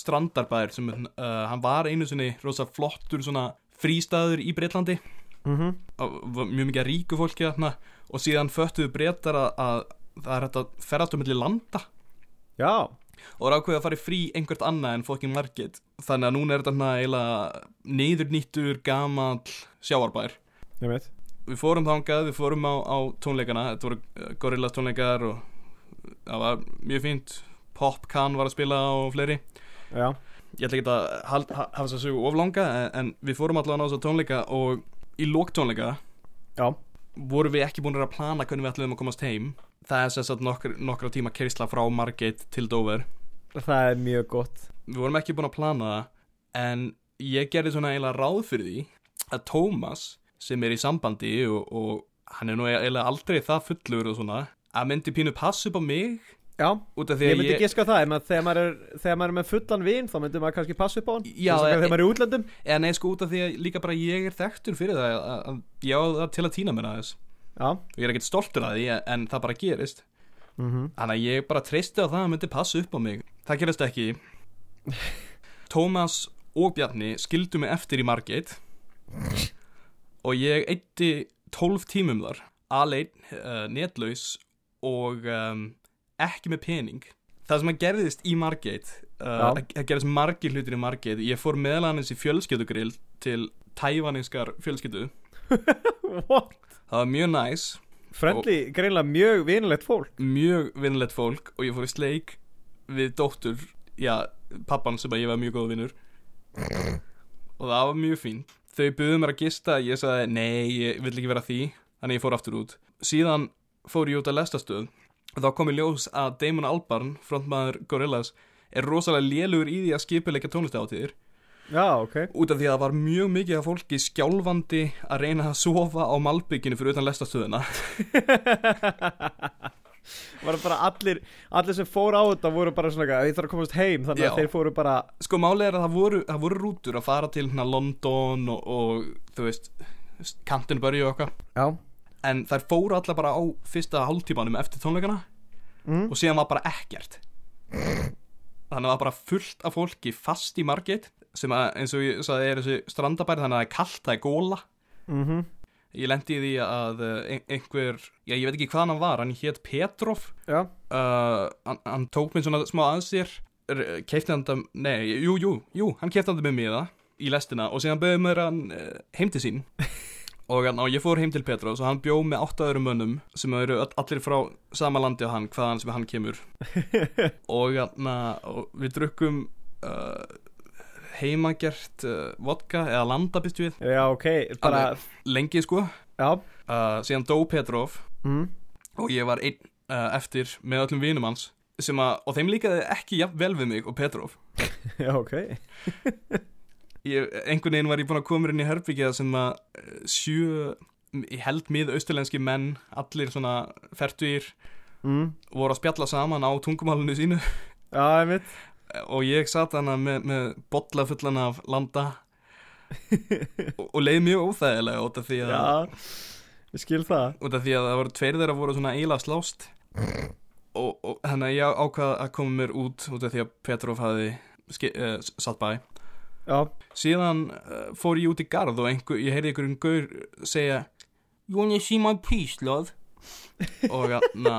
[SPEAKER 2] strandarbær sem er, uh, hann var einu sinni rosa flottur svona frístaður í Breitlandi
[SPEAKER 1] mm
[SPEAKER 2] og var mjög mikið af ríku fólki þarna og síðan föttuðu breytar að, að það er hægt að ferðast um milli landa
[SPEAKER 1] Já,
[SPEAKER 2] og er ákveðið að fara í frí einhvert annað en fokkin margit þannig að núna er þetta svona eiginlega neyðurnýttur, gamall sjáarbær
[SPEAKER 1] einmitt
[SPEAKER 2] við fórum þangað, við fórum á, á tónleikana þetta voru uh, gorillas tónleikar og það var mjög fínt Pop Can var að spila og fleiri
[SPEAKER 1] Já,
[SPEAKER 2] ég ætla ekki að hald, ha, hafa þess að sögu oflanga en, en við fórum allavega á þess að tónleika og í lóktónleika
[SPEAKER 1] já,
[SPEAKER 2] vorum við ekki búin að plana hvernig við ætlum að komast heim það er sem sagt nokkur, nokkra tíma kersla frá Margate til Dover
[SPEAKER 1] það er mjög gott
[SPEAKER 2] við vorum ekki búin að plana það en ég gerði svona eiginlega ráð fyrir því að Tómas sem er í sambandi og, og hann er nú eiginlega aldrei það fullur og svona að myndi pínu pass upp á mig
[SPEAKER 1] Já,
[SPEAKER 2] út af því
[SPEAKER 1] ég
[SPEAKER 2] að
[SPEAKER 1] myndi
[SPEAKER 2] Eh, ég,
[SPEAKER 1] ég... giska á það ef maður- Þegar maður er, þegar maður er með fullan vin þá myndi maður kannski passa upp á hann
[SPEAKER 2] Já,
[SPEAKER 1] Þess vegna
[SPEAKER 2] e-
[SPEAKER 1] Þegar maður er í útlöndum
[SPEAKER 2] eða nei sko út af því að líka bara ég er þekktur fyrir það að, að, að ég á það til að týna mér aðeins
[SPEAKER 1] Já,
[SPEAKER 2] og ég er ekkert stoltur að því en, en það bara gerist
[SPEAKER 1] mm
[SPEAKER 2] Þannig að ég bara treysti á það að hann myndi passa upp á mig Það gerast ekki Tómas og Bjarni skildu mig eftir í Margate Og ég eitti 12 tímum þar Aleinn, uh, netlaus og um, ekki með pening Það sem að gerðist í Margate uh,
[SPEAKER 1] Já.
[SPEAKER 2] Það gerðist margir hlutir í Margate Ég fór meðal annars í fjölskyldugrill til tævaninskar fjölskyldu
[SPEAKER 1] What?
[SPEAKER 2] Það var mjög næs
[SPEAKER 1] Friendly, greinlega mjög vinulegt fólk
[SPEAKER 2] mjög vinnlegt fólk og ég fór í sleik við dóttur, já, pappan sem að ég var mjög góð vinnur og það var mjög fín þau buðu mér að gista, ég sagði nei, ég vill ekki vera að því, þannig ég fór aftur út síðan fór ég út að lestastöð og þá kom í ljós að Damon Albarn frontmaður Gorillaz er rosalega lélugur í því að skipuleika tónlistáttíðir
[SPEAKER 1] Já, ok
[SPEAKER 2] út af því að það var mjög mikið af fólki skjálfandi að reyna að sofa á malbygginu fyrir utan lestastöðuna
[SPEAKER 1] Var bara allir, allir sem fór á þetta voru bara svona eitthvað, Ég þarf að komast heim þannig
[SPEAKER 2] Já.
[SPEAKER 1] að þeir fóru bara
[SPEAKER 2] sko málið er að það voru, það voru rútur að fara til hérna London og, og þú veist Canterbury og okkar
[SPEAKER 1] Já
[SPEAKER 2] en þær fóru allar bara á fyrsta hálftímanum eftir tónleikana
[SPEAKER 1] Mm.
[SPEAKER 2] og síðan var bara ekkert þannig að það var bara fullt af fólki fast í margit sem að, eins og ég sagði er þessi strandabæri þannig að það er kallt, það er góla
[SPEAKER 1] mm -hmm.
[SPEAKER 2] Ég lendi í því að eh, ein- einhver, já ég veit ekki hvaðan hann var, hann hétt Petrov
[SPEAKER 1] Já,
[SPEAKER 2] uh, hann, hann tók minn svona smá að sér keipti hann þetta, nei, jú, jú, jú hann keipti hann þetta með mér í lestina og síðan bauði mér hann uh, heim til sín og hann, og ég fór heim til Petrós og hann bjó með átta öðrum mönnum sem eru öll- allir frá sama landi á hann, hvaðan sem hann kemur og, hann, og við drukkum uh, heimagert uh, vodka eða landabist við
[SPEAKER 1] já, ok Bara,
[SPEAKER 2] lengi sko,
[SPEAKER 1] já
[SPEAKER 2] uh, síðan dó Petrov
[SPEAKER 1] mm.
[SPEAKER 2] og ég var einn uh, eftir með öllum vinum hans sem að, og þeim líkaði ekki jafn vel við mig og Petrov
[SPEAKER 1] Já, ok
[SPEAKER 2] ég, einhvern veginn var ég búin að koma mér inn í herbyggja sem að eh, sjö ég held mið austurlenski menn allir svona fertugir
[SPEAKER 1] mm.
[SPEAKER 2] voru að spjalla saman á tungumálinu sínu
[SPEAKER 1] Já, einmitt
[SPEAKER 2] og ég satt hana með, með bolla fullan af landa og, og leið mjög óþægilega út af því að,
[SPEAKER 1] Já, ég skil það
[SPEAKER 2] út af því að það voru tveir þeirra voru svona eila slást og, og þannig að ég ákvað að koma mér út út af því að Petrov hafi uh, satt bæ
[SPEAKER 1] Já,
[SPEAKER 2] síðan uh, fór ég út í garð og einhver, ég heyrði einhverjum gaur segja You wanna see my peace, love? og, na,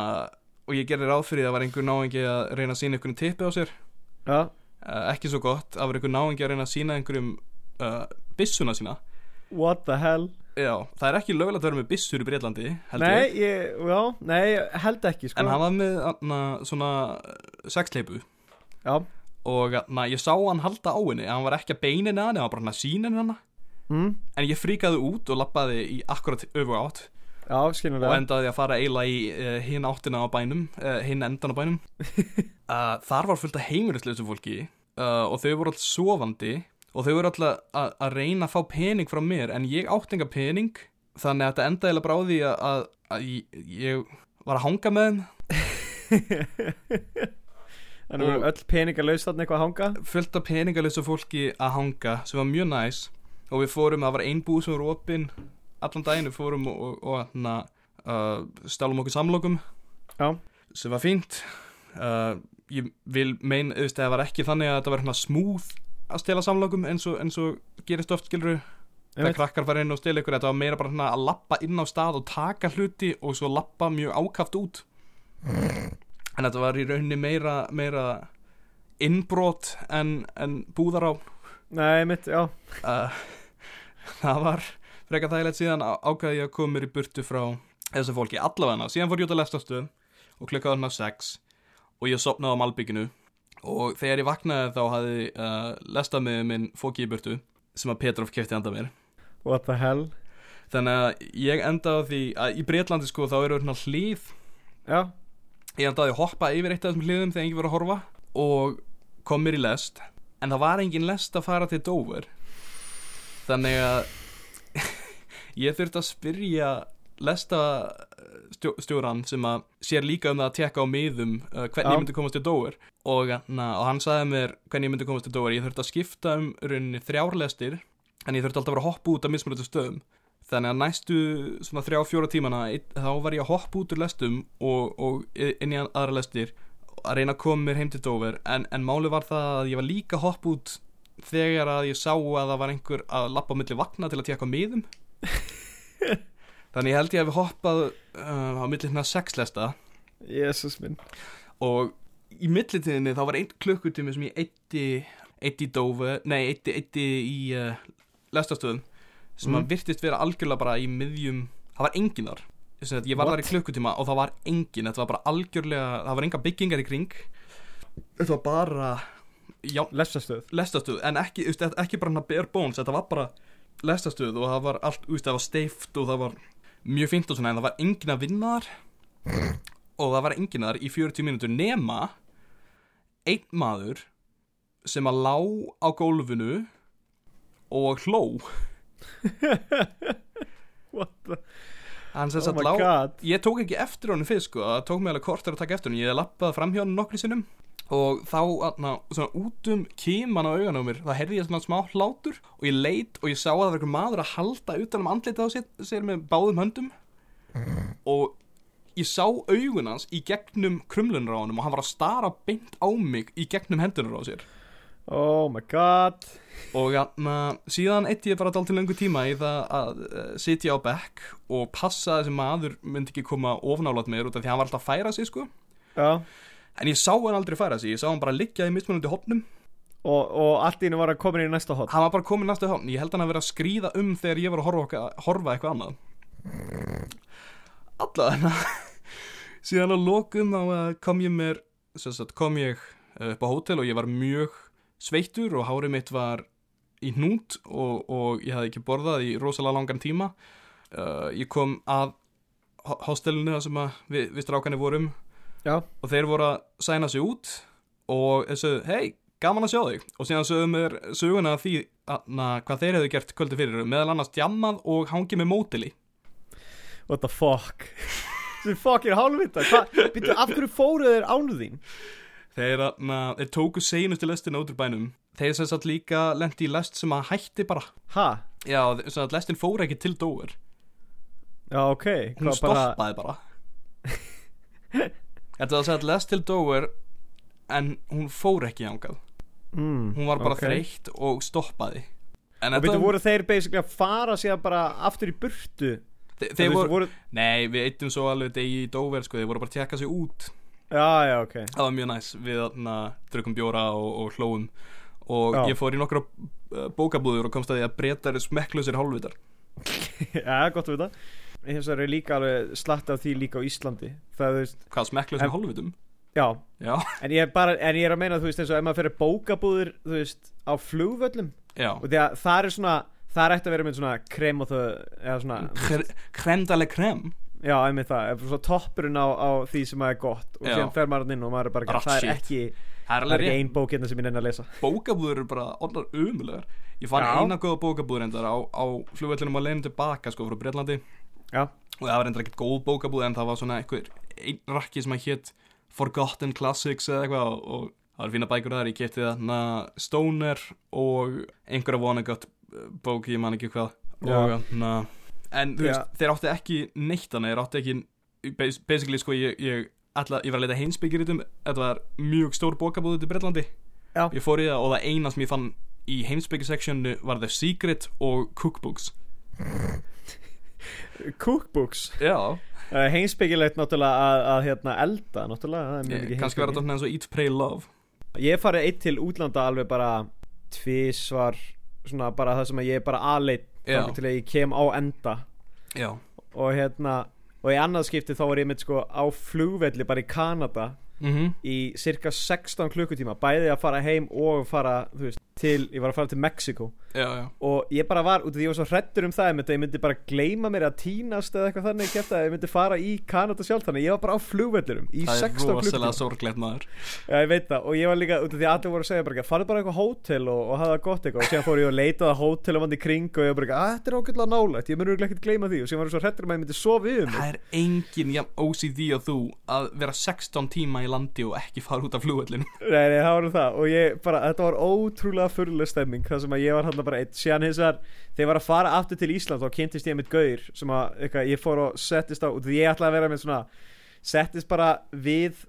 [SPEAKER 2] og ég gerði ráð fyrir að var einhver náingi að reyna að sína einhverjum tippi á sér
[SPEAKER 1] já,
[SPEAKER 2] uh, ekki svo gott, að var einhver náingi að reyna að sína einhverjum uh, byssuna sína
[SPEAKER 1] what the hell
[SPEAKER 2] Já, það er ekki lögulegt að vera með byssur í Breitlandi heldur
[SPEAKER 1] Nei,
[SPEAKER 2] ég,
[SPEAKER 1] ég, já, nei, held ekki sko
[SPEAKER 2] en hann var með na, svona eh, sexleipu
[SPEAKER 1] Já,
[SPEAKER 2] og na, ég sá hann halda á henni hann var ekki að beina henni að henni, hann var bara að sína henni hana
[SPEAKER 1] mm.
[SPEAKER 2] en ég fríkaði út og lappaði í akkurat öfu átt
[SPEAKER 1] já,
[SPEAKER 2] og
[SPEAKER 1] skilulega
[SPEAKER 2] endaði að fara eiginlega í uh, hinn áttina á bænum, uh, hinn endan á bænum uh, þar var fullt af heimilislausu fólki uh, og þau voru alltaf sofandi og þau voru alltaf að að reyna að fá pening frá mér en ég átti enga pening þannig að þetta endaði eiginlega bara á því að, að, að ég, ég var að hanga með þeim
[SPEAKER 1] Þannig að
[SPEAKER 2] og-
[SPEAKER 1] öll peningar laus þarna eitthvað að hanga
[SPEAKER 2] fullt af peningalösa fólki að hanga sem var mjög næs og við fórum, það var ein búð sem var opinn allan daginn við fórum og, og, og na, uh, stálum okkur samlokum
[SPEAKER 1] Já.
[SPEAKER 2] sem var fínt uh, ég vil mein þú veist, það var ekki þannig að þetta var hérna smúð að stela samlokum eins og, eins og gerist oft skilur
[SPEAKER 1] Einmitt.
[SPEAKER 2] það krakkar fara inn og stela ykkur þetta var meira bara hérna að lappa inn á stað og taka hluti og svo lappa mjög ákaft út en þetta var í rauninni meira, meira innbrot en, en búðará
[SPEAKER 1] Nei, mitt, já
[SPEAKER 2] uh, það var frekar þægilegt síðan á- ákvað ég að koma mér í burtu frá þessu fólki allavega síðan fór ég út að lestastu og klukkaði hann á 6 og ég sopnaði á malbygginu og þegar ég vaknaði þá hafði uh, lestamiðið minn fókið í burtu sem að Petrov kefti handa mér
[SPEAKER 1] What the hell
[SPEAKER 2] þannig að ég endaði á því að í Breitlandi sko þá eru hérna hlýð
[SPEAKER 1] Já,
[SPEAKER 2] ég endaði að hoppa yfir eitt af þessum hliðum þegar enginn var að horfa og kom mér í lest en það var engin lest að fara til Dover þannig að ég þurfti að spyrja lesta stjó, stjóran sem að sér líka um það að tekka á miðum uh, hvernig
[SPEAKER 1] Já.
[SPEAKER 2] ég myndi komast til Dover og, na, og hann sagði mér hvernig ég myndi komast til Dover ég þurfti að skipta um rauninni þrjárlestir en ég þurfti alltaf að vera að hoppa út af mismunandi stöðum þannig að næstu svona þrjá fjóra tímana einn- þá var ég að hoppa út úr lestum og, og inn í aðra lestir að reyna að koma mér heim til Dover en, en máli var það að ég var líka að hoppa út þegar að ég sá að það var einhver að lappa á milli vakna til að tekka á miðum þannig ég held ég að við hoppað uh, á milli hérna sex lesta
[SPEAKER 1] jésus minn
[SPEAKER 2] og í millitíðinni þá var einn klukkutími sem ég eitti eitti í Dover, nei eitti, eitti í uh, lestastöðum sem
[SPEAKER 1] Mm.
[SPEAKER 2] að virtist vera algjörlega bara í miðjum, það var enginn þar Sem sagt, ég var
[SPEAKER 1] What?
[SPEAKER 2] þar í klukkutíma og það var enginn þetta var bara algjörlega, það var enga byggingar í kring þetta var bara já,
[SPEAKER 1] Lestastöð
[SPEAKER 2] lestastöð en ekki, þú veist, þetta- ekki bara hann að bare bones þetta var bara lestastöð og það var allt þú veist, það var steift og það var mjög fínt og svona en það var engin að vinna þar og það var engin að þar í 40 mínútur nema einn maður sem að lá á gólfinu og hló
[SPEAKER 1] What the
[SPEAKER 2] hann sem
[SPEAKER 1] Oh
[SPEAKER 2] sagt
[SPEAKER 1] my
[SPEAKER 2] lá
[SPEAKER 1] god
[SPEAKER 2] ég tók ekki eftir honum fyrst sko það tók mig alveg kortar að taka eftir honum ég lappaði fram hjá honum nokkri sinnum og þá na, svona út um kíman á augan á mér það heyrði ég svona smá hlátur og ég leit og ég sá að það var einhver maður að halda utan um andlitið á sér, sér með báðum höndum og ég sá augun hans í gegnum krumlunur á honum og hann var að stara beint á mig í gegnum hendunar á sér
[SPEAKER 1] Oh my god
[SPEAKER 2] Og jafna, síðan eitt ég bara dalt til lengur tíma í það að uh, sitja á bekk og passa að þessi maður myndi ekki koma ofnálat mér út af því að hann var alltaf að færa sig sko.
[SPEAKER 1] Já
[SPEAKER 2] En ég sá hann aldrei færa sig, ég sá hann bara liggja í mismunandi hopnum.
[SPEAKER 1] Og, og allt í hennu var að koma inn í næsta hot
[SPEAKER 2] Hann var bara komin næstu hopn, ég held hann að vera að skríða um þegar ég var að horfa, okka- horfa eitthvað annað. Alla þarna. síðan að lokum á að kom ég mér, sem sagt kom ég uh, upp á hótel og ég var mjög sveittur og hárið mitt var í hnút og, og ég hafði ekki borðað í rosalega langan tíma uh, ég kom að ho- hostelinu þar sem að við, við strákanir vorum
[SPEAKER 1] Já.
[SPEAKER 2] og þeir voru að sæna sig út og þeir sögðu, hei, gaman að sjá þig og síðan sögðu mér söguna af því að, na, hvað þeir hefðu gert kvöldi fyrir meðal annars djammað og hangið með mótili
[SPEAKER 1] What the fuck Þessi fucking hálfvita Hva- Býttu, af hverju fóruð þeir ánu þín?
[SPEAKER 2] Þeir, na, þeir tóku seinustu lestina út úr bænum þeir sem satt líka lendi í lest sem að hætti bara
[SPEAKER 1] Ha?
[SPEAKER 2] já, þe- sem að lestin fór ekki til dóver
[SPEAKER 1] Já, ok
[SPEAKER 2] hún
[SPEAKER 1] Hvað bara-
[SPEAKER 2] stoppaði bara Þetta var að segja Les til Dover en hún fór ekki ángað
[SPEAKER 1] mm,
[SPEAKER 2] hún var bara
[SPEAKER 1] ok.
[SPEAKER 2] þreytt og stoppaði en
[SPEAKER 1] Og býttu, voru þeir basically að fara síðan bara aftur í burtu
[SPEAKER 2] þe
[SPEAKER 1] Þú
[SPEAKER 2] þeir
[SPEAKER 1] veist,
[SPEAKER 2] voru, nei við eittum svo alveg degi í Dover sko, þeir voru bara að tjekka sig út
[SPEAKER 1] Já, já, ok
[SPEAKER 2] það var mjög næs, við þarna drukum bjóra og, og hlóum og
[SPEAKER 1] Já.
[SPEAKER 2] ég fór í nokkra uh, bókabúður og komst að því að breytar er smekklausir hálfvitar
[SPEAKER 1] Já, gott að vita Hins vegar er líka alveg slatt af því líka á Íslandi Það, þú veist
[SPEAKER 2] hvað
[SPEAKER 1] En-
[SPEAKER 2] smekklausir hálfvitum?
[SPEAKER 1] Já,
[SPEAKER 2] já,
[SPEAKER 1] en ég, er bara, en ég er að meina, þú veist, eins og ef maður fyrir bókabúður, þú veist, á flugvöllum
[SPEAKER 2] já
[SPEAKER 1] og því að það er svona, það er eftir að vera með svona krem og þau, eða svona,
[SPEAKER 2] kremdaleg krem
[SPEAKER 1] já, einmitt það, eða svona toppurinn á, á því sem að er gott og
[SPEAKER 2] Já.
[SPEAKER 1] síðan fer maður þarna inn og maður er bara,
[SPEAKER 2] Rat
[SPEAKER 1] það er
[SPEAKER 2] shit.
[SPEAKER 1] ekki,
[SPEAKER 2] það er
[SPEAKER 1] það
[SPEAKER 2] alveg
[SPEAKER 1] er
[SPEAKER 2] rétt
[SPEAKER 1] ekki ein bók hérna sem ég nenni að lesa.
[SPEAKER 2] bókabúður eru bara orðnar umulegar ég fann
[SPEAKER 1] Já.
[SPEAKER 2] eina góða bókabúður endar á, á flugvellinum að leiðinu tilbaka sko frá Breitlandi
[SPEAKER 1] Já,
[SPEAKER 2] og það var endar ekkert góð bókabúð en það var svona einhver einn rakki sem að hétt Forgotten Classics eða eitthvað og, og það var fína bækur þar, ég kefti þarna Stoner og einhverja vonagött bók, ég man ekki hvað og
[SPEAKER 1] Já.
[SPEAKER 2] þarna en þú
[SPEAKER 1] Já.
[SPEAKER 2] veist, þeir áttu ekki neitt hana, þeir áttu ekki bas- basically sko ég, ég Alla, ég var að leita heimsbyggjuritum, þetta var mjög stór bókabúð út í Breitlandi
[SPEAKER 1] Já.
[SPEAKER 2] Ég fór í það og það eina sem ég fann í heimsbyggjuseksjónu var The Secret og Cookbooks
[SPEAKER 1] cookbooks,
[SPEAKER 2] Já,
[SPEAKER 1] uh, heimsbyggilegt náttúrulega að, að hérna, elda, náttúrulega, það er mjög mikið
[SPEAKER 2] Eh, kannski verða
[SPEAKER 1] heimspeki.
[SPEAKER 2] þetta eins og Eat, Pray, Love
[SPEAKER 1] Ég hef farið eitt til útlanda alveg bara tvísvar, svona bara það sem að ég er bara aðleitt,
[SPEAKER 2] Já.
[SPEAKER 1] til að ég kem á enda.
[SPEAKER 2] Já,
[SPEAKER 1] og hérna og í annað skipti þá var ég mitt sko á flugvelli bara í Kanada
[SPEAKER 2] mm
[SPEAKER 1] í cirka 16 klukkutíma bæði að fara heim og fara þú veist, til, ég var að fara til Mexiko
[SPEAKER 2] já, já
[SPEAKER 1] og ég bara var, út af því ég var svo hrettur um það einmitt, að ég myndi bara gleyma mér að tínast eða eitthvað þannig kæft að ég myndi fara í Kanada sjálf þannig að ég var bara á flugvellirum í
[SPEAKER 2] Það er
[SPEAKER 1] 16
[SPEAKER 2] rosalega
[SPEAKER 1] klukkutíma
[SPEAKER 2] sorglegt maður
[SPEAKER 1] Já, ég veit það og ég var líka út af því að allir voru að segja bara ekki farðu bara á eitthvað hótel og, og hafa það gott eitthvað og síðan fór ég og leitaði hótel um hann í kring og ég var bara ekki að þetta er ákveðlega nálægt ég mun örugglega ekkert gleyma því og síðan var ég svo hrettur um að ég myndi sofa yfir mig
[SPEAKER 2] Það er engin jafn OCD og þú að vera 16 tíma í landi og ekki fara út af flugvellinu
[SPEAKER 1] Nei, nei, það var nú það og ég bara, þetta var ótrúlega fyrirlega stemming þar sem að ég var hann bara eitt síðan hins vegar, þegar ég var að fara aftur til Ísland þá kynntist ég mitt gaur sem að eitthvað, ég fór og settist á, út af því ég ætlaði að vera með svona settist bara við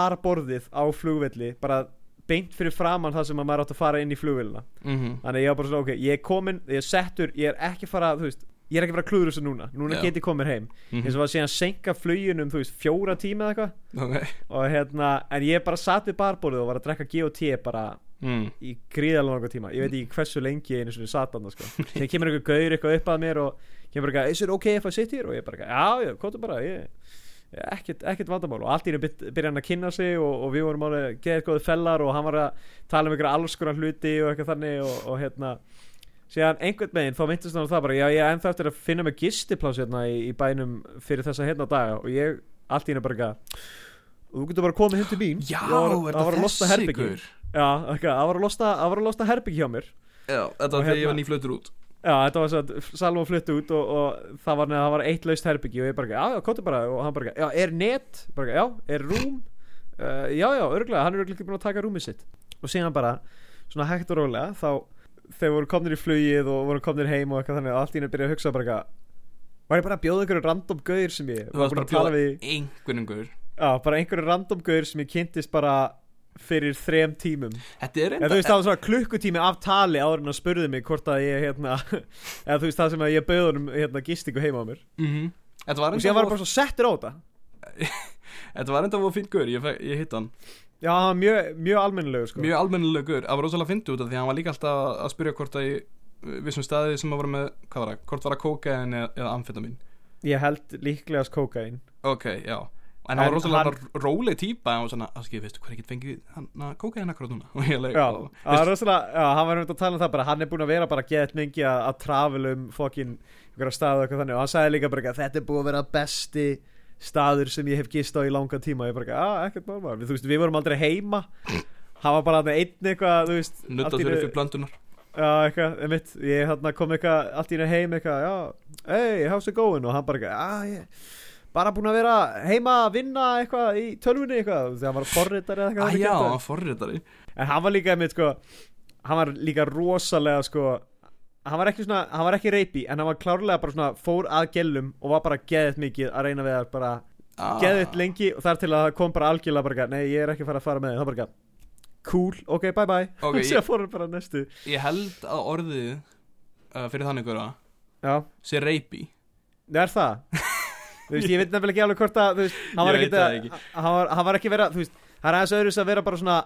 [SPEAKER 1] barborðið á flugvelli bara beint fyrir framann þar sem að maður átt að fara inn í flugvellina
[SPEAKER 2] mm -hmm.
[SPEAKER 1] þannig að ég var bara svona, ok, ég er komin, ég er settur ég er ekki að fara, þú veist, ég er ekki að fara að klúður þessu núna núna
[SPEAKER 2] Já.
[SPEAKER 1] get ég komið heim eins og var síðan senka fluginum, þú veist, fjóra tíma eða eitthvað
[SPEAKER 2] Ok
[SPEAKER 1] og hérna, en ég bara satt við barborðið og var að drekka G&T bara
[SPEAKER 2] mm.
[SPEAKER 1] í gríðalega langa tíma ég veit ekki hversu lengi ég einu svona satt annað sko. þegar kemur einhver gaur eitthvað upp að mér og kemur eitthvað, is it ok if I sit here og ég bara, já, já, kóta bara ég, ekkert, ekkert vandamál og allt í henni byrja hann að kynna sig og, og við vorum alveg geðið góði fellar og hann var að tala um einhverja alls konar hluti og eitthvað þannig og, og hérna síðan einhvern veginn þá myndist hann á það bara já ég er ennþá eftir að finna mig gistiplás hérna í, í bænum fyrir þessa hérna daga og ég allt í henni bara eitthvað þú getur bara komið heim til mín
[SPEAKER 2] Já,
[SPEAKER 1] Ég var,
[SPEAKER 2] er
[SPEAKER 1] að var
[SPEAKER 2] það
[SPEAKER 1] að losna
[SPEAKER 2] þessi
[SPEAKER 1] herbergi.
[SPEAKER 2] gaur?
[SPEAKER 1] Já, ok, það var að losna, það var að losna herbyggi hjá mér
[SPEAKER 2] Já, þetta
[SPEAKER 1] Og
[SPEAKER 2] var þegar ég
[SPEAKER 1] hérna-
[SPEAKER 2] var nýflutur út
[SPEAKER 1] Já, þetta var svo að Salvo flutti út og, og það var, neða, það var eitt laust herbyggi og ég bara, já, já, kóti bara og hann bara, já, er net, bara, já, er rúm uh, já, já, örgulega, hann er örgulega ekki búin að taka rúmið sitt og síðan bara, svona hægt og rólega þá þegar voru komnir í flugið og voru komnir heim og eitthvað þannig og allt í henni byrjaði að hugsa bara eitthvað, var ég bara að bjóða einhverju random gaur sem ég
[SPEAKER 2] Þú
[SPEAKER 1] var
[SPEAKER 2] varst
[SPEAKER 1] búin
[SPEAKER 2] bara
[SPEAKER 1] að tala við
[SPEAKER 2] einhvernum gaur
[SPEAKER 1] Já, bara einhverju random gaur sem ég kynntist bara fyrir þrem tímum
[SPEAKER 2] Þetta er
[SPEAKER 1] eða
[SPEAKER 2] enda
[SPEAKER 1] þú veist það var svona klukkutími af tali áður en að spurði mig hvort að ég hérna eða þú veist það sem að ég bauð honum hérna gistingu heima á mér
[SPEAKER 2] Mhm. Þetta var
[SPEAKER 1] og
[SPEAKER 2] enda
[SPEAKER 1] síðan var hann bara svo settur á þetta
[SPEAKER 2] Þetta var enda voru fín gaur, ég, fe- ég hitt hann
[SPEAKER 1] já hann var mjög, mjög almennilegur sko
[SPEAKER 2] Mjög almennilega gaur, það var rosalega fyndi út af því að hann var líka alltaf að spyrja hvort að ég vissum staði sem að voru með, hvað var það, hvort var að kóka en eða, eða amfetamin
[SPEAKER 1] ég held líklegast kókain
[SPEAKER 2] Ok, já En hann
[SPEAKER 1] En
[SPEAKER 2] var rosalega
[SPEAKER 1] hann-
[SPEAKER 2] bara róleg típa en hann var svona, að skilja, veistu hvað er ekkert fengið hann að kóka henn akkur núna Og ég leik,
[SPEAKER 1] já, það var rosalega, já, hann var um að tala um það bara hann er búin að vera bara gett mingi að, að travel um fokkin ykkur að staða og eitthvað þannig og hann sagði líka bara eitthvað, þetta er búin að vera besti staður sem ég hef gist á í langa tíma og ég bara, eitthvað, "Ah, ekkert normal við, þú veist, við vorum aldrei heima hann var bara þarna einn eitthvað, þú veist allt
[SPEAKER 2] Nuttað
[SPEAKER 1] í
[SPEAKER 2] fyrir
[SPEAKER 1] einu-
[SPEAKER 2] fyrir blöndunar
[SPEAKER 1] Já, eitthvað, einmitt, ég þarna kom eitthvað allt í henni heim eitthvað, já, hey, how's it going og hann bara eitthvað, já, ég bara búin að vera heima að vinna eitthvað í tölvunni eitthvað, þegar hann var forritar eða eitthvað
[SPEAKER 2] Æ,
[SPEAKER 1] hann
[SPEAKER 2] Ah, já,
[SPEAKER 1] gerði.
[SPEAKER 2] hann forritari
[SPEAKER 1] en hann var líka einmitt, sko hann var líka rosalega, sko hann var ekki svona, hann var ekki reypi en hann var klárlega bara svona, fór að gellum og var bara geðið mikið að reyna við að bara
[SPEAKER 2] Ah.
[SPEAKER 1] geðið lengi og þar til að það kom bara algjörlega bara, eitthvað, nei, ég er ekki að fara að fara með þig." þá bara, eitthvað, cool, ok, bye bye
[SPEAKER 2] Ok,
[SPEAKER 1] og
[SPEAKER 2] ég-
[SPEAKER 1] síðan fór hann bara næstu
[SPEAKER 2] Ég held að orðið uh, fyrir þannig gaura
[SPEAKER 1] já,
[SPEAKER 2] sé reypi
[SPEAKER 1] Það er það Þú veist, ég veit nefnilega ekki alveg hvort að þú veist, hann var
[SPEAKER 2] Ég
[SPEAKER 1] ekki,
[SPEAKER 2] veit það
[SPEAKER 1] að, Hann, var, hann var ekki vera, þú veist Það er aðeins öðru sem að vera bara svona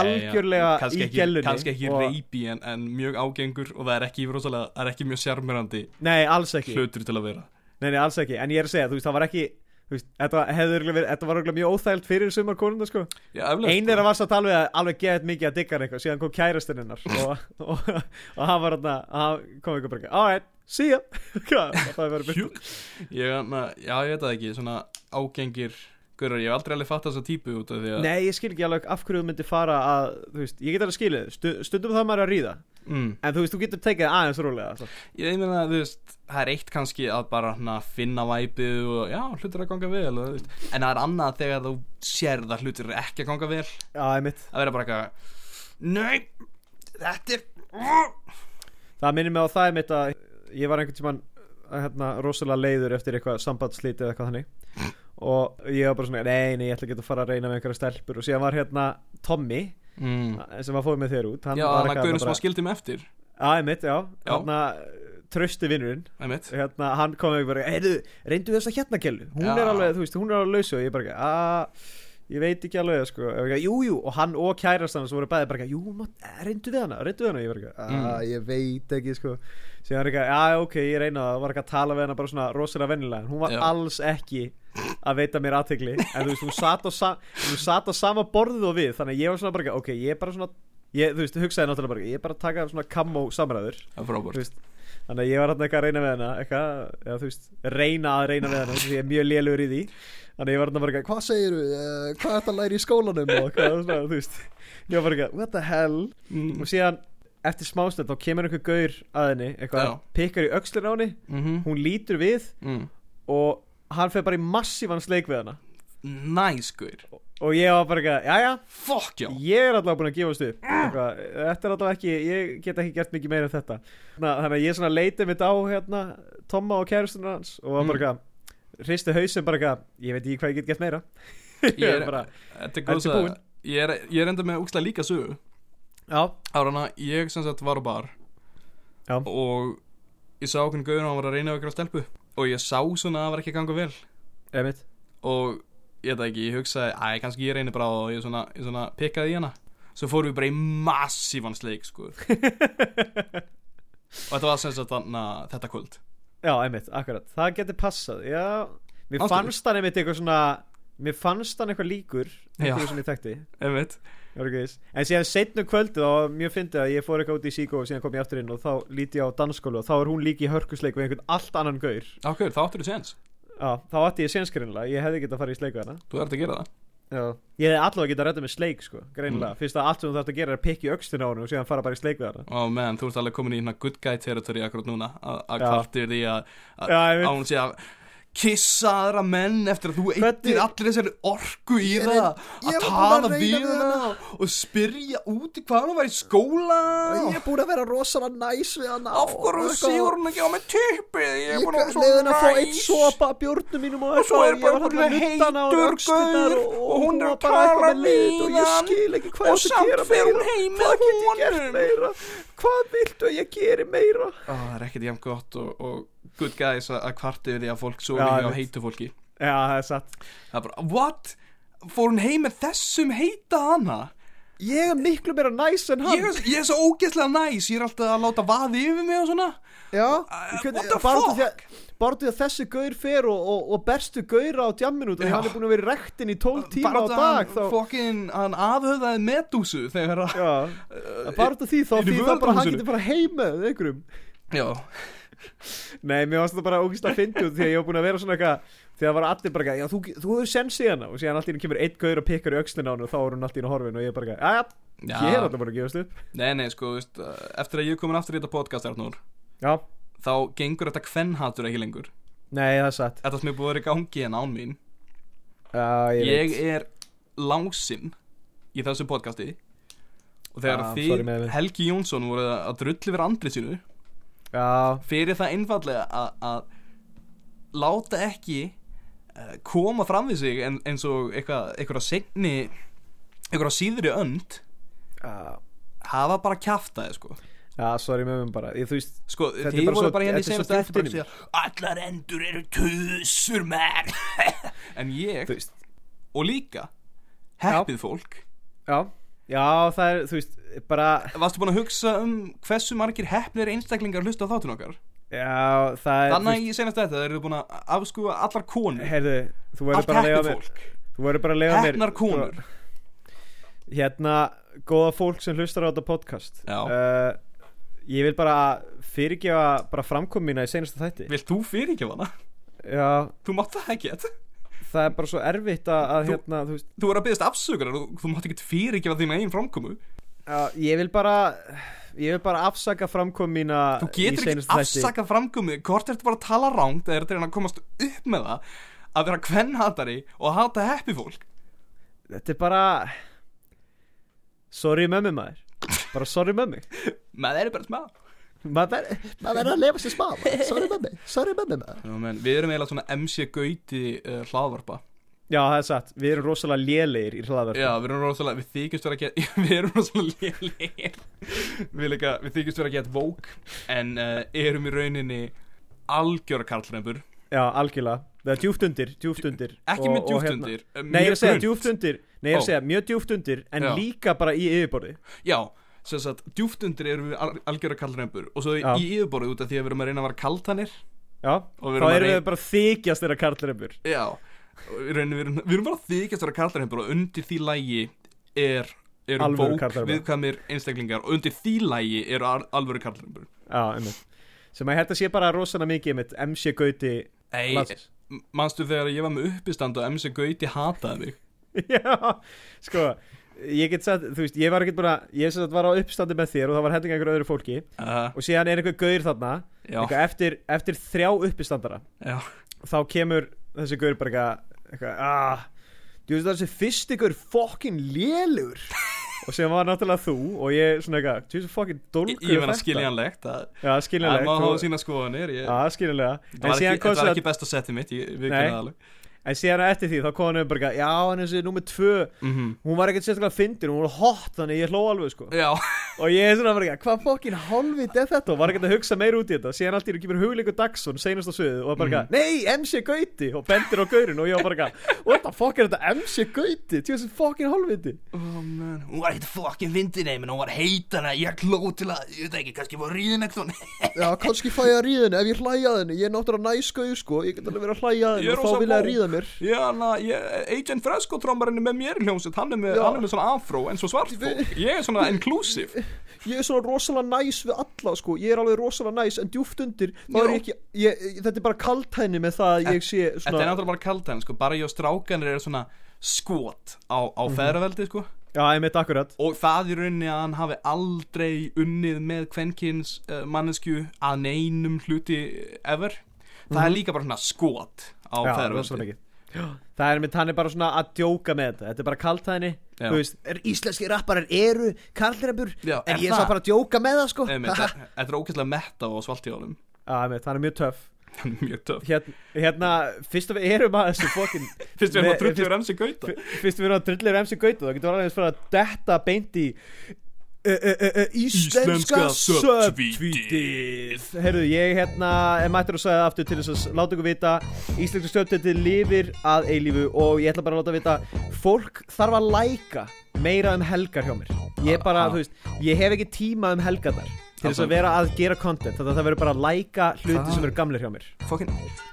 [SPEAKER 1] algjörlega
[SPEAKER 2] kannski
[SPEAKER 1] í
[SPEAKER 2] ekki,
[SPEAKER 1] gellunni
[SPEAKER 2] Kannski ekki
[SPEAKER 1] og-
[SPEAKER 2] reypi en, en mjög ágengur og það er ekki, rosalega, það er ekki mjög sjarmirandi
[SPEAKER 1] Nei, alls ekki
[SPEAKER 2] hlutur til að vera
[SPEAKER 1] Nei, nei, alls ekki En ég er að segja, þú veist, það var ekki Þú veist, þetta hefði örugglega verið- þetta var örugglega mjög óþægild fyrir sumar konunda, sko
[SPEAKER 2] Já, eflaust,
[SPEAKER 1] Einir að varst að tala við að alveg geðið mikið að digga hann eitthvað Síðan kom kærastinn hennar og, og, og hann var þarna, hann kom eitthvað bara eitthvað, All right, see ya Hvað, það var bara
[SPEAKER 2] Hjúk. ég, na, Já, ég veit það ekki, svona ágengir Gaurar, ég hef aldrei alveg fatt þessa típu út af því að
[SPEAKER 1] Nei, ég skil ekki alveg af hverju þú myndir fara að, þú veist, ég get alveg skilið, stu, stundum það maður er að ríða,
[SPEAKER 2] mm,
[SPEAKER 1] en þú veist, þú getur tekið það aðeins rólega, sko. alltaf.
[SPEAKER 2] Ég meina, þú veist, það er eitt kannski að bara hana, finna væpið og já, hlutur að ganga vel og, þú veist, En það er annað þegar þú sérð að hlutur er ekki að ganga vel
[SPEAKER 1] Já, einmitt.
[SPEAKER 2] Að vera bara eitthvað Nei, þetta er
[SPEAKER 1] Það minnir mig á það einmitt að ég var einhvern tímann, hérna, rosalega leiður eftir eitthvað sambandslítið eða eitthvað þannig og ég var bara svona, nei, nei, ég ætla ekki að fara að reyna með einhverja stelpur og síðan var hérna Tommy,
[SPEAKER 2] mm.
[SPEAKER 1] sem var fóðið með þér út, hann
[SPEAKER 2] Já,
[SPEAKER 1] var
[SPEAKER 2] hann að gaurin sem
[SPEAKER 1] bara-
[SPEAKER 2] að skildi mig eftir
[SPEAKER 1] Já, einmitt, já,
[SPEAKER 2] Já.
[SPEAKER 1] hérna, trösti vinnurinn.
[SPEAKER 2] einmitt.
[SPEAKER 1] hérna, hann kom ekki bara heyrðu, reyndu þess að hérna kellu hún
[SPEAKER 2] Já.
[SPEAKER 1] er alveg, þú veist, hún er alveg lausu og ég bara, að ég veit ekki alveg, sko og ég bara, jú, jú, og hann og kærast hann svo voru bæði bara, jú, not, reyndu við hana reyndu við hana, og ég bara, að
[SPEAKER 2] Mm.
[SPEAKER 1] ég veit ekki sko, síðan er ekki, að ok ég reyna það, og var ekki að tala við hana bara svona rosalega vennilega, en hún var
[SPEAKER 2] Já.
[SPEAKER 1] alls ekki að veita mér aðtegli, en þú veist, hún satt á, sa hún satt á sama borðið og við þannig að ég var svona bara, ekki, ok, ég er bara svona ég, þú veist, hugsaði náttúrulega bara, ekki, ég er bara að taka svona kamó samræður
[SPEAKER 2] Það er frábært
[SPEAKER 1] Þú veist, Þannig að ég var hann eitthvað að reyna með hana eitthvað, eða þú veist, reyna að reyna með hana því ég er mjög lélugur í því Þannig að ég var hann bara eitthvað, hvað segir þú, Eh, hvað er þetta að læra í skólanum og hvað, svona, þú veist Ég var bara eitthvað, what the hell
[SPEAKER 2] mm.
[SPEAKER 1] Og síðan, eftir smástund, þá kemur einhver gaur að henni, eitthvað,
[SPEAKER 2] Já.
[SPEAKER 1] pikkar í öxlin á henni
[SPEAKER 2] Mhm.
[SPEAKER 1] Hún lítur við
[SPEAKER 2] mm.
[SPEAKER 1] og hann fer bara í massívan sleik við hana
[SPEAKER 2] Næs, gaur
[SPEAKER 1] Og ég var bara eitthvað, jæja,
[SPEAKER 2] Fuck, já
[SPEAKER 1] ég er allavega búin að gefast upp eitthvað, þetta er allavega ekki, ég get ekki gert mikið meira en þetta Na, þannig að ég svona leiti mitt á hérna, Tomma og kærustun hans og
[SPEAKER 2] Mm.
[SPEAKER 1] var bara eitthvað, hristi hausum bara eitthvað, ég veit ekki hvað ég get gert meira
[SPEAKER 2] Ég er-
[SPEAKER 1] bara,
[SPEAKER 2] Þetta er
[SPEAKER 1] Ertu
[SPEAKER 2] góð saga.
[SPEAKER 1] búinn?
[SPEAKER 2] Ég er, ég er enda með úkslega líka sögu
[SPEAKER 1] já,
[SPEAKER 2] Árana, ég sem sagt var á bar
[SPEAKER 1] Já.
[SPEAKER 2] Og ég sá okkur gaurin og hann var að reyna okkur að stelpu Og ég sá svona að það var ekki að ganga vel
[SPEAKER 1] emitt
[SPEAKER 2] Og ég veit það ekki, ég hugsaði Æ, kannski ég reyni bara á það og ég svona, ég svona pikkaði í hana Svo fórum við bara í massívan sleik, sko Og þetta var sem sagt þarna þetta kvöld
[SPEAKER 1] já, emitt, akkurat, það getur passað já, mér
[SPEAKER 2] Ástæður.
[SPEAKER 1] fannst hann emitt eitthvað svona mér fannst hann eitthvað líkur
[SPEAKER 2] Já.
[SPEAKER 1] eitthvað sem ég tekti
[SPEAKER 2] Einmitt
[SPEAKER 1] Ég var ekki viss. En síðan setnu kvöldu þá mjög fyndið að ég fór eitthvað út í síkó og síðan kom ég aftur inn og þá líti ég á dansskólu og þá er hún líki í hörkusleik við einhvern allt annan gaur
[SPEAKER 2] Ákveður, þá áttur þú séns
[SPEAKER 1] Já, þá átti ég sénskrinlega, ég hefði getað að fara í sleiku hana
[SPEAKER 2] Þú ert að gera það
[SPEAKER 1] Já. Ég hefði allavega getað að redda með sleik sko, greinilega
[SPEAKER 2] Mm.
[SPEAKER 1] Fyrst að allt sem þú þarfst að gera er að pikki öxtin á hana og síðan fara bara í sleiku hana
[SPEAKER 2] Og meðan þú ert alveg komin í hérna good guy territory akkurat núna að- Að
[SPEAKER 1] Já.
[SPEAKER 2] kvartir því að
[SPEAKER 1] Já, ég
[SPEAKER 2] að-
[SPEAKER 1] veit.
[SPEAKER 2] að hún sé að kissa aðra menn eftir að þú eittir
[SPEAKER 1] Hvernig-
[SPEAKER 2] allir þessari orku í
[SPEAKER 1] Ég er
[SPEAKER 2] það
[SPEAKER 1] ein- ég
[SPEAKER 2] að
[SPEAKER 1] var búin að
[SPEAKER 2] tala
[SPEAKER 1] reyna
[SPEAKER 2] við
[SPEAKER 1] við
[SPEAKER 2] hana
[SPEAKER 1] hana.
[SPEAKER 2] og spyrja úti hvað hann var í skóla
[SPEAKER 1] Ég er búin að vera rosalega næs við hana
[SPEAKER 2] af hverju sigur hún ekki á mig tippið ég er
[SPEAKER 1] Ég
[SPEAKER 2] búin að
[SPEAKER 1] gæti leiðin að fá
[SPEAKER 2] vera
[SPEAKER 1] einn
[SPEAKER 2] svo næs
[SPEAKER 1] sopa af bjórnum mínum og
[SPEAKER 2] og svo er
[SPEAKER 1] ég
[SPEAKER 2] bara
[SPEAKER 1] var þarna að
[SPEAKER 2] einhvern
[SPEAKER 1] nudda hana á
[SPEAKER 2] heitur
[SPEAKER 1] öxlirnar
[SPEAKER 2] gaur
[SPEAKER 1] og-
[SPEAKER 2] og hún er
[SPEAKER 1] var
[SPEAKER 2] að
[SPEAKER 1] bara eitthvað
[SPEAKER 2] tala
[SPEAKER 1] með lit og ég
[SPEAKER 2] við hann
[SPEAKER 1] skil ekki hvað ég
[SPEAKER 2] og
[SPEAKER 1] átti að
[SPEAKER 2] samt
[SPEAKER 1] gera
[SPEAKER 2] fer hún
[SPEAKER 1] meira.
[SPEAKER 2] heim með
[SPEAKER 1] Hvað get ég
[SPEAKER 2] honum?
[SPEAKER 1] gert meira? Hvað viltu að ég geri meira?
[SPEAKER 2] Ó, það er ekkert jæmt gott og, og good guys að að kvarti við því að fólk svo
[SPEAKER 1] Já,
[SPEAKER 2] mikið á
[SPEAKER 1] einmitt.
[SPEAKER 2] heitu fólki
[SPEAKER 1] Já, það er satt
[SPEAKER 2] það er bara what fór hún heim með þessum heita hana
[SPEAKER 1] Ég er miklu meira næs en hann
[SPEAKER 2] ég, er- ég er svo ógeðslega næs ég er alltaf að láta vaði yfir mig og svona
[SPEAKER 1] Já,
[SPEAKER 2] what the
[SPEAKER 1] bara út af
[SPEAKER 2] fuck?
[SPEAKER 1] því að- bara út af því að þessi gaur fer og, og, og berstu gaura á djamminu út af því
[SPEAKER 2] Já.
[SPEAKER 1] að hann er búin að vera í rektin í 12 tíma á
[SPEAKER 2] Bara
[SPEAKER 1] dag
[SPEAKER 2] hann
[SPEAKER 1] þá,
[SPEAKER 2] fokkin, hann afhöfðaði medúsu þegar að
[SPEAKER 1] já, bara út af því þá
[SPEAKER 2] Í- í
[SPEAKER 1] því þá bara hann
[SPEAKER 2] vörðuhúsinu.
[SPEAKER 1] getur bara heima með einhverjum
[SPEAKER 2] já,
[SPEAKER 1] Nei, mér varst það bara ógist að fyndi út því að ég var búin að vera svona eitthvað þegar var allir bara eitthvað, já, þú, þú hefur sensið hana og síðan allir kemur einn gaur og pikkar í öxlina á hann og þá er hún allir í horfin og ég er bara eitthvað, já, já, ég er alltaf bara að gefast upp
[SPEAKER 2] nei nei sko þú veist, uh, eftir að ég er komin aftur í þetta podcast Arnur,
[SPEAKER 1] Já,
[SPEAKER 2] þá gengur þetta kvennhatur ekki lengur
[SPEAKER 1] nei, það er satt
[SPEAKER 2] þetta sem er búið að vera í gangi en án mín
[SPEAKER 1] Já, ég,
[SPEAKER 2] ég
[SPEAKER 1] veit.
[SPEAKER 2] er lásin í þessu podcasti og þegar
[SPEAKER 1] Ah, sorry,
[SPEAKER 2] þið
[SPEAKER 1] með þig.
[SPEAKER 2] Helgi Jónsson voru að drulli vera andrið sínu
[SPEAKER 1] Já,
[SPEAKER 2] fyrir það einfallega að, að láta ekki eh, koma fram við sig en, eins og eitthvað, einhverja seinni einhverja síðri önd
[SPEAKER 1] já,
[SPEAKER 2] hafa bara kjaftaði sko
[SPEAKER 1] já, sorry með mér bara, ég, þú veist
[SPEAKER 2] Sko,
[SPEAKER 1] Þetta er
[SPEAKER 2] þið
[SPEAKER 1] bara
[SPEAKER 2] voru
[SPEAKER 1] svo-
[SPEAKER 2] bara hérna í
[SPEAKER 1] þetta er
[SPEAKER 2] semst
[SPEAKER 1] svo
[SPEAKER 2] að
[SPEAKER 1] djúpt
[SPEAKER 2] segja Allar endur eru tusur mér En ég,
[SPEAKER 1] Þú veist,
[SPEAKER 2] og líka Heppið fólk
[SPEAKER 1] já, já, það er, þú veist, bara
[SPEAKER 2] Varstu búin að hugsa um hversu margir heppnir einstaklingar hlusta á þáttun okkar
[SPEAKER 1] Já, það er
[SPEAKER 2] Þannig að ég senast þetta, þeir eru búin að afskúfa allar konur
[SPEAKER 1] Herðu, þú verður
[SPEAKER 2] Allt
[SPEAKER 1] bara að lega
[SPEAKER 2] heppið
[SPEAKER 1] mér
[SPEAKER 2] fólk
[SPEAKER 1] Þú verður bara að lega mér
[SPEAKER 2] Heppnar konur
[SPEAKER 1] Hérna, góða fólk sem hlustar á þetta podcast
[SPEAKER 2] Já.
[SPEAKER 1] uh, Ég vil bara fyrirgefa bara framkomin mína í seinasta þætti
[SPEAKER 2] Vilt þú fyrir ekki hana?
[SPEAKER 1] Já,
[SPEAKER 2] Þú mátt það ekki þetta
[SPEAKER 1] það er bara svo erfitt að, að
[SPEAKER 2] Þú-
[SPEAKER 1] hérna, þú veist
[SPEAKER 2] Þú er að byggðast afsökunar og þú mátt ekki fyrir ekki að þín eigin framkomu
[SPEAKER 1] Já, ég vil bara Ég vil bara afsaka framkomin mína
[SPEAKER 2] Þú
[SPEAKER 1] Eh, í
[SPEAKER 2] getur ekki
[SPEAKER 1] seinasta þætti.
[SPEAKER 2] afsakað framkomu Hvort ertu bara að tala rangt eða ertu að reyna að komast upp með það að vera kvennhatari og að hata heppi fólk
[SPEAKER 1] Þetta er bara Sorry mömmu maður Bara sorry mömmu
[SPEAKER 2] með þeir eru bara smá
[SPEAKER 1] Maður verður- maður verður að lefa sér smá maður. Sorry mömmu, sorry mömmu maður
[SPEAKER 2] Nú, menn, Við erum eiginlega svona MC Gauti
[SPEAKER 1] eh,
[SPEAKER 2] uh, hlaðvarpa
[SPEAKER 1] Já, það er satt, við erum rosalega lélegir í hlaðverð
[SPEAKER 2] Já, við erum rosalega, við þykjumst vera að geta Við erum rosalega lélegir Við, líka, við þykjumst vera að geta vók En uh, erum í rauninni Algjör karlrempur
[SPEAKER 1] Já, algjörlega, það er djúft undir, djúft undir
[SPEAKER 2] Ekki
[SPEAKER 1] Og-
[SPEAKER 2] með
[SPEAKER 1] og
[SPEAKER 2] djúpt
[SPEAKER 1] hérna-
[SPEAKER 2] undir, eh,
[SPEAKER 1] Nei, ég er
[SPEAKER 2] mjög
[SPEAKER 1] að segja
[SPEAKER 2] grunnt.
[SPEAKER 1] djúft undir Nei, ég er
[SPEAKER 2] Ó.
[SPEAKER 1] að segja mjög djúft undir En
[SPEAKER 2] Já.
[SPEAKER 1] líka bara í yfirborði
[SPEAKER 2] Já, sem sagt, djúft undir erum við al algjöra kaldrempur og svo
[SPEAKER 1] Já.
[SPEAKER 2] í yfirborðið út af því að við erum að reyna að vera kaltanir
[SPEAKER 1] Já,
[SPEAKER 2] Og við erum
[SPEAKER 1] þá
[SPEAKER 2] að
[SPEAKER 1] erum
[SPEAKER 2] rey-
[SPEAKER 1] við bara að þykjast þeirra karlrempur
[SPEAKER 2] Já, og í rauninni við erum, við erum bara að þykjast að vera kaltarhempur og undir því lægi er eru
[SPEAKER 1] Alvöru
[SPEAKER 2] bók,
[SPEAKER 1] karlrempur.
[SPEAKER 2] viðkvæmir, einstaklingar og undir því lægi eru al alvöru kaltarhempur
[SPEAKER 1] Já, einmitt Sem að þetta sé bara rosalega mikið einmitt MC Gauti
[SPEAKER 2] Ei,
[SPEAKER 1] landsins.
[SPEAKER 2] manstu þegar ég var með uppistand og MC Gauti hataði mig
[SPEAKER 1] Já, sko Ég get sagt, þú veist, ég var ekkert bara Ég sem sagt var á uppstandi með þér og það var hendinga einhverju öðru fólki
[SPEAKER 2] uh,
[SPEAKER 1] Og síðan er einhver gaur þarna
[SPEAKER 2] Já,
[SPEAKER 1] eitthvað eftir, eftir þrjá uppistandara
[SPEAKER 2] já,
[SPEAKER 1] þá kemur þessi gaur bara eitthvað- eitthvað ah, þú veist það þessi fyrst ykkur fokkin lélugur og sem var náttúrulega þú og ég svona eitthvað, þú veist fokkin
[SPEAKER 2] ég,
[SPEAKER 1] dólgur
[SPEAKER 2] ég meina skiljanlegt að
[SPEAKER 1] já
[SPEAKER 2] að
[SPEAKER 1] skiljanlega
[SPEAKER 2] maður hafa sína skoðanir ég,
[SPEAKER 1] já skiljanlega
[SPEAKER 2] það
[SPEAKER 1] en
[SPEAKER 2] var
[SPEAKER 1] síðan
[SPEAKER 2] ekki,
[SPEAKER 1] kom
[SPEAKER 2] þetta var
[SPEAKER 1] það
[SPEAKER 2] ekki besta setið mitt, ég, við
[SPEAKER 1] Nei.
[SPEAKER 2] kynna það alveg
[SPEAKER 1] en síðan á eftir því þá kom hann upp bara eitthvað, já en þessi nummer tvö
[SPEAKER 2] Mhm.
[SPEAKER 1] hún var ekkert sérstaklega fyndin, hún var hot þannig ég hló alveg sko
[SPEAKER 2] Já,
[SPEAKER 1] og ég er svona bara eitthvað, hvað fokkin hálfið er þetta og var ekkert að hugsa meir út í þetta síðan allt í hún kemur hugleikur Dagsson seinast á suðu og bara eitthvað,
[SPEAKER 2] Mm.
[SPEAKER 1] nei, MC Gauti og bendir á gaurin og ég var bara eitthvað what the fuck er þetta MC Gauti til þessi fokkin hálfið
[SPEAKER 2] Oh, man. hún var ekkert fokkin fyndin nei, menn hún var heitana, ég gló til að ég veit ekki, kannski var ríðin eitthvað
[SPEAKER 1] já, kannski fæ ég að ríða henni ef ég hlæja henni ég er náttúrulega næskauð sko, ég get alveg verið að hlæja
[SPEAKER 2] Ég er og þá rosa vil ég að vó. ríða
[SPEAKER 1] mér
[SPEAKER 2] Já, na, ég, Agent Fresco trombarinn er með mér í hljómsveit, hann er með,
[SPEAKER 1] Já.
[SPEAKER 2] hann er með svona afró en svo svart fólk, ég er svona inclusive
[SPEAKER 1] ég er svona rosalega næs við alla sko, ég er alveg rosalega næs en djúft undir,
[SPEAKER 2] þá er ég
[SPEAKER 1] ekki þetta er bara kaltæni með það að ég sé
[SPEAKER 2] Þetta er náttúrulega bara kalt henn, sko, bara ég og strákanir er svona skot á, á
[SPEAKER 1] Mhm.
[SPEAKER 2] feðraveldi, sko
[SPEAKER 1] já, ég mitt akkurat
[SPEAKER 2] og það í rauninni að hann hafi aldrei unnið með kvenkins eh, uh, mannesku að neinum hluti ever það er líka bara svona skot
[SPEAKER 1] Mhm. Já,
[SPEAKER 2] á á
[SPEAKER 1] rosalega
[SPEAKER 2] feðraveldi
[SPEAKER 1] mikið. það er mitt, hann er bara svona að djóka með þetta þetta er bara kaltæðinni
[SPEAKER 2] Já.
[SPEAKER 1] þú veist,
[SPEAKER 4] er íslenski rapparar eru karlrepur
[SPEAKER 2] Já,
[SPEAKER 4] en
[SPEAKER 2] er
[SPEAKER 4] ég
[SPEAKER 2] það?
[SPEAKER 4] sá bara að djóka með það sko
[SPEAKER 2] Einmitt, Þetta þetta er ógæslega metta og svalt í álum
[SPEAKER 1] að, mitt, hann er mjög töff
[SPEAKER 2] Mjög töf
[SPEAKER 1] hérna, hérna, fyrst að við erum að þessu fokkin
[SPEAKER 2] Fyrst við erum
[SPEAKER 1] Nei,
[SPEAKER 2] að drullu
[SPEAKER 1] fyrst-
[SPEAKER 2] remsi gauta
[SPEAKER 1] fyrst við erum að drullir emsi gauta þá getur við alveg fyrir að detta beint í e, ö, ö, ö, ö, Íslenska
[SPEAKER 2] Íslenska
[SPEAKER 1] subtweetið Herruðu, ég hérna er mættur að segja það aftur til þess að s- láta ykkur vita Íslenska subtweetið lifir að eilífu og ég ætla bara að láta vita fólk þarf að læka meira um helgar hjá mér ég bara,
[SPEAKER 2] Ah.
[SPEAKER 1] þú veist, ég hef ekki tíma um helgarnar til þess
[SPEAKER 2] Alltaf.
[SPEAKER 1] að vera að gera content þannig að það verður bara að læka hluti
[SPEAKER 2] Ah.
[SPEAKER 1] sem eru gamlir hjá mér
[SPEAKER 2] Fokkin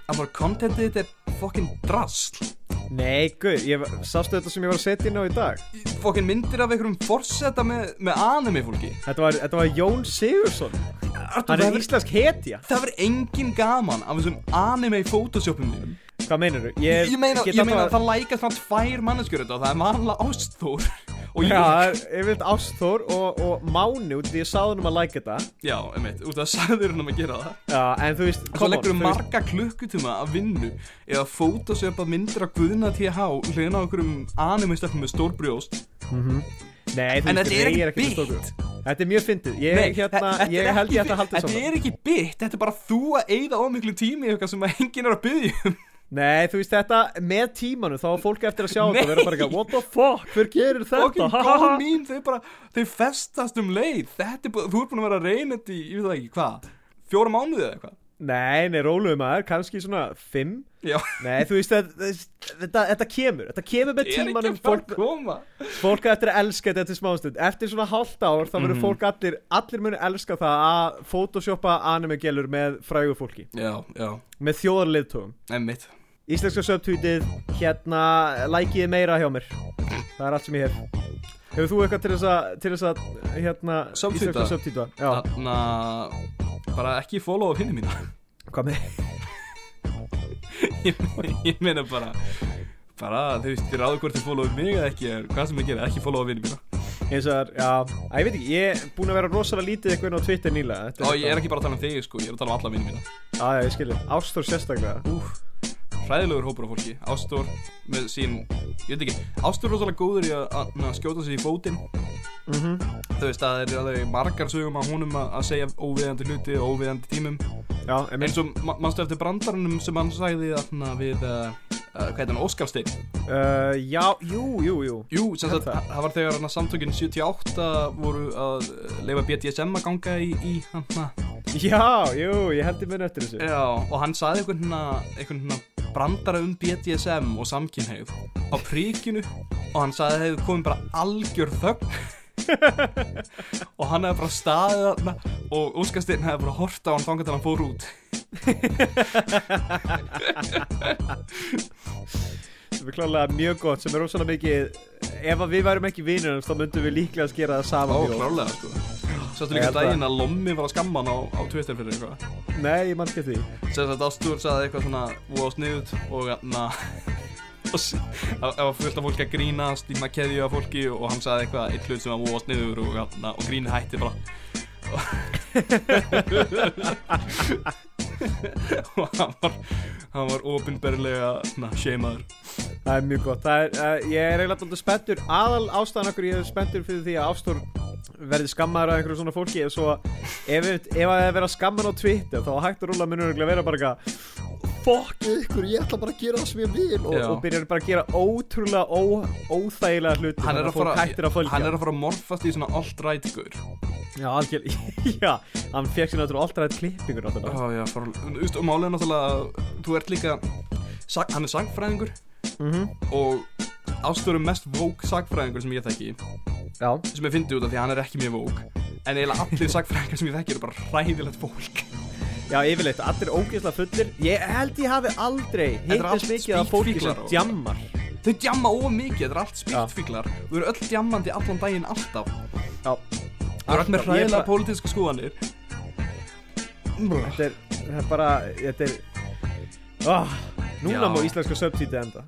[SPEAKER 2] Það bara contentið þetta er fokkin drasl
[SPEAKER 1] Nei, guð, ég sástu þetta sem ég var að setja inn á í dag
[SPEAKER 2] Fokkin myndir af einhverjum forseta með, með anime fólki
[SPEAKER 1] Þetta var, þetta var Jón Sigursson
[SPEAKER 2] Artur,
[SPEAKER 1] Hann
[SPEAKER 2] það
[SPEAKER 1] er
[SPEAKER 2] verður-
[SPEAKER 1] íslensk hetja
[SPEAKER 2] Það verður engin gaman af þessum anime photoshopum þínum
[SPEAKER 1] Hvað meinarðu?
[SPEAKER 2] Ég, meina,
[SPEAKER 1] get
[SPEAKER 2] ég meina
[SPEAKER 1] alltaf-
[SPEAKER 2] að það lækast frá tvær manneskjur þetta og það er vanlega ástþór og ég,
[SPEAKER 1] Já, ég veit Ásþór og, og Máni út því ég sáði hann um að læka þetta
[SPEAKER 2] já, einmitt, út af sagður hann um að gera það
[SPEAKER 1] Já, en þú veist,
[SPEAKER 2] og svo leggur
[SPEAKER 1] þú
[SPEAKER 2] um
[SPEAKER 1] veist
[SPEAKER 2] marga klukkutuma að vinnu eða fótosjöpa myndir að guðna TH hlýðin á einhverjum anime stöfnum með stór brjóst
[SPEAKER 1] Nei, þú
[SPEAKER 2] En
[SPEAKER 1] veist,
[SPEAKER 2] þetta er
[SPEAKER 1] ég með
[SPEAKER 2] ekki bit.
[SPEAKER 1] stórbrjóst. Þetta er mjög fyndið, ég, hérna,
[SPEAKER 2] þetta- þetta
[SPEAKER 1] ég
[SPEAKER 2] er
[SPEAKER 1] held
[SPEAKER 2] ekki
[SPEAKER 1] ég ætti að
[SPEAKER 2] bit.
[SPEAKER 1] halda
[SPEAKER 2] Þetta
[SPEAKER 1] svona
[SPEAKER 2] er ekki bit, þetta er bara þú að eyða ómiklu tími í eitthvað sem að enginn er að byggja um
[SPEAKER 1] Nei, þú veist, þetta, með tímanum þá var fólk eftir að sjá þetta og vera bara
[SPEAKER 2] Nei.
[SPEAKER 1] eitthvað What the fuck, hver gerir þetta?
[SPEAKER 2] Fokkin góð mín, þau bara, þau festast um leið Þetta er bara, þú er búin að vera að reyna þetta í, ég veit það ekki, hvað, fjóra mánuði eða eitthvað
[SPEAKER 1] Nei, nei, róluðu maður, kannski svona fimm
[SPEAKER 2] Já,
[SPEAKER 1] Nei, þú veist, þetta, þetta, þetta kemur, þetta kemur með
[SPEAKER 2] ég er ekki
[SPEAKER 1] tímanum
[SPEAKER 2] að fara
[SPEAKER 1] fólk,
[SPEAKER 2] að koma
[SPEAKER 1] fólk á eftir að elska þetta til smástund Eftir svona hálft ár þá verður fólk allir Allir munu elska það að photoshoppa anime-gelur með frægu fólki
[SPEAKER 2] Já, já,
[SPEAKER 1] Með þjóðarliðtogum
[SPEAKER 2] emmitt
[SPEAKER 1] Íslenska subtweetið, hérna, lækið meira hjá mér Það er allt sem ég hef Hefur þú eitthvað til þess að, til þess að, hérna,
[SPEAKER 2] Subtweeta? Ah.
[SPEAKER 1] íslenska subtweeta? Já,
[SPEAKER 2] Þannig að bara ekki follow af hinni mína
[SPEAKER 1] hvað með?
[SPEAKER 2] ég, ég meina bara bara þau veist, þið ráðu hvort þið follow af mig eða ekki er hvað sem þið gera, ekki follow af vinni mína
[SPEAKER 1] Eins og það er, já, að, ég veit ekki, ég er búin að vera rosalega lítið eitthvað inn á Twitter nýlega Þetta
[SPEAKER 2] og ég er ekki bara að tala um þig sko, ég er að tala um alla vinni mína
[SPEAKER 1] Já, já, ég skilja, Ástór sérstaklega
[SPEAKER 2] Úf, hræðilegur hópur af fólki Ástór með sín, ég veit ekki Ástór er rosalega góður í að, að, að skjóta sér í fótinn
[SPEAKER 1] Mhm.
[SPEAKER 2] þú veist, það er alveg margar sögum að honum að, að segja óviðandi hluti og óviðandi tímum
[SPEAKER 1] Já, emil,
[SPEAKER 2] eins og ma- manstu eftir brandarunum sem hann sagði þarna við uh, uh, hvað er hann, Óskarsteinn
[SPEAKER 1] uh, já, jú, jú, jú
[SPEAKER 2] Jú, sem sagt,
[SPEAKER 1] Þetta.
[SPEAKER 2] það var þegar hann að samtökin 78 voru að leifa BDSM að ganga í, í hann
[SPEAKER 1] Já, jú, ég held ég muni eftir þessu
[SPEAKER 2] Já, og hann saði einhvern hérna, einhvern hérna brandara um BDSM og samkynhegð á príkinu og hann saði að það hefði komið bara algjör þögn og hann hefði bara staðið þarna og Óskarstinn hefði bara horta á hann þangað til hann fór út
[SPEAKER 1] Þetta er klálega mjög gott sem er rosalega mikið Ef að við værum ekki vinir hans þá myndum við líklega að skera það sama mjög.
[SPEAKER 2] klárlega, sko Sástu
[SPEAKER 1] Ég
[SPEAKER 2] líka
[SPEAKER 1] held það.
[SPEAKER 2] daginn að Lommi var að skamma hann á, á Twitter fyrir eitthvað
[SPEAKER 1] Nei, ég mann ekki því
[SPEAKER 2] sem sagt Ástur sagði eitthvað svona wow sniðut og na, og s- það það var fullt af fólki að grínast í maður keðju af fólki og hann sagði eitthvað eitt hlut sem var wow sniður og, na, og grínið hætti bara og hann var hann var ofinberlega na, sheimaður
[SPEAKER 1] Það er mjög gott það er, uh, Ég er eiginlega alltaf spenntur Aðal ástæðan okkur ég er spenntur fyrir því að Ástór verði skammaður af einhverju svona fólki Ef, svo, ef, ef að það er verið að skamma hann á Twitter þá á hægt og rúla munur örugglega vera bara eitthvað Fokk ykkur, ég ætla bara að gera það sem ég vil og,
[SPEAKER 2] Já.
[SPEAKER 1] og byrjar bara að gera ótrúlega ó, óþægilega hluti
[SPEAKER 2] hann
[SPEAKER 1] þannig
[SPEAKER 2] er að fara
[SPEAKER 1] fólk hættir að följa
[SPEAKER 2] hann er að fara að morfast í svona alt-right gaur
[SPEAKER 1] Já, algjörlega, já, hann fekk sér náttúrulega alltaf rætt klippingur náttúrulega
[SPEAKER 2] Já, já, fara, þú veist, og málið er náttúrulega að þú ert líka, sag, hann er sagfræðingur
[SPEAKER 1] Mhm.
[SPEAKER 2] og ástörum mest vók sagfræðingur sem ég þekki
[SPEAKER 1] Já,
[SPEAKER 2] sem ég fyndi út af því að hann er ekki mjög vók en eiginlega allir sagfræðingar sem ég þekki eru bara hræðilegt fólk
[SPEAKER 1] já, yfirleitt, allir ógeðslega fullir Ég held ég hafi aldrei
[SPEAKER 2] er allt
[SPEAKER 1] hittist mikið af fólki
[SPEAKER 2] spýtfíklar
[SPEAKER 1] sem
[SPEAKER 2] og-
[SPEAKER 1] djammar
[SPEAKER 2] þau djamma of mikið, þetta er allt spiltfíklar þau eru öll djammandi allan daginn alltaf
[SPEAKER 1] Já,
[SPEAKER 2] þau eru öll
[SPEAKER 1] Alltaf,
[SPEAKER 2] með
[SPEAKER 1] ég
[SPEAKER 2] hræðilega
[SPEAKER 1] bara-
[SPEAKER 2] pólitíska skoðanir
[SPEAKER 1] þetta er, þetta er bara, þetta er oh, Núna
[SPEAKER 2] Já.
[SPEAKER 1] má íslenska subtítið enda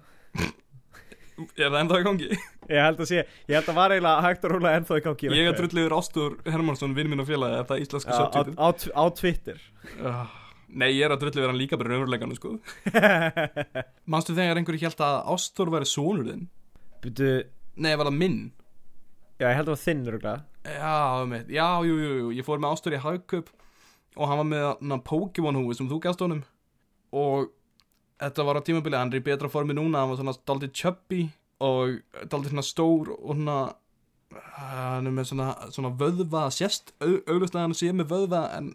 [SPEAKER 2] er það enda í gangi?
[SPEAKER 1] Ég held að sé, ég held að var eiginlega hægt að rúla ennþá í gangi
[SPEAKER 2] ég er drullegur Ástur Hermansson, vinn minn og félagi er það íslenska
[SPEAKER 1] á, á,
[SPEAKER 2] söptítum
[SPEAKER 1] á, á Twitter
[SPEAKER 2] Nei, ég er að drullu vera hann líka bara raunveruleikanu sko Manstu þegar einhverju hjælt að Ástór væri sonur þinn?
[SPEAKER 1] Butu,
[SPEAKER 2] Nei, var það minn?
[SPEAKER 1] já, ég held að það var þinn röglega
[SPEAKER 2] Já, um eitt. já, jú, jú, jú, ég fór með Ástór í Hagkaup og hann var með na, Pokémon húi sem þú gafst honum og þetta var á tímabili, hann er í betra formi núna, hann var svona daldið chubby og daldið svona stór og svona hann er með svona, svona vöðva, sérst au- augljóslega hann sé með vöðva en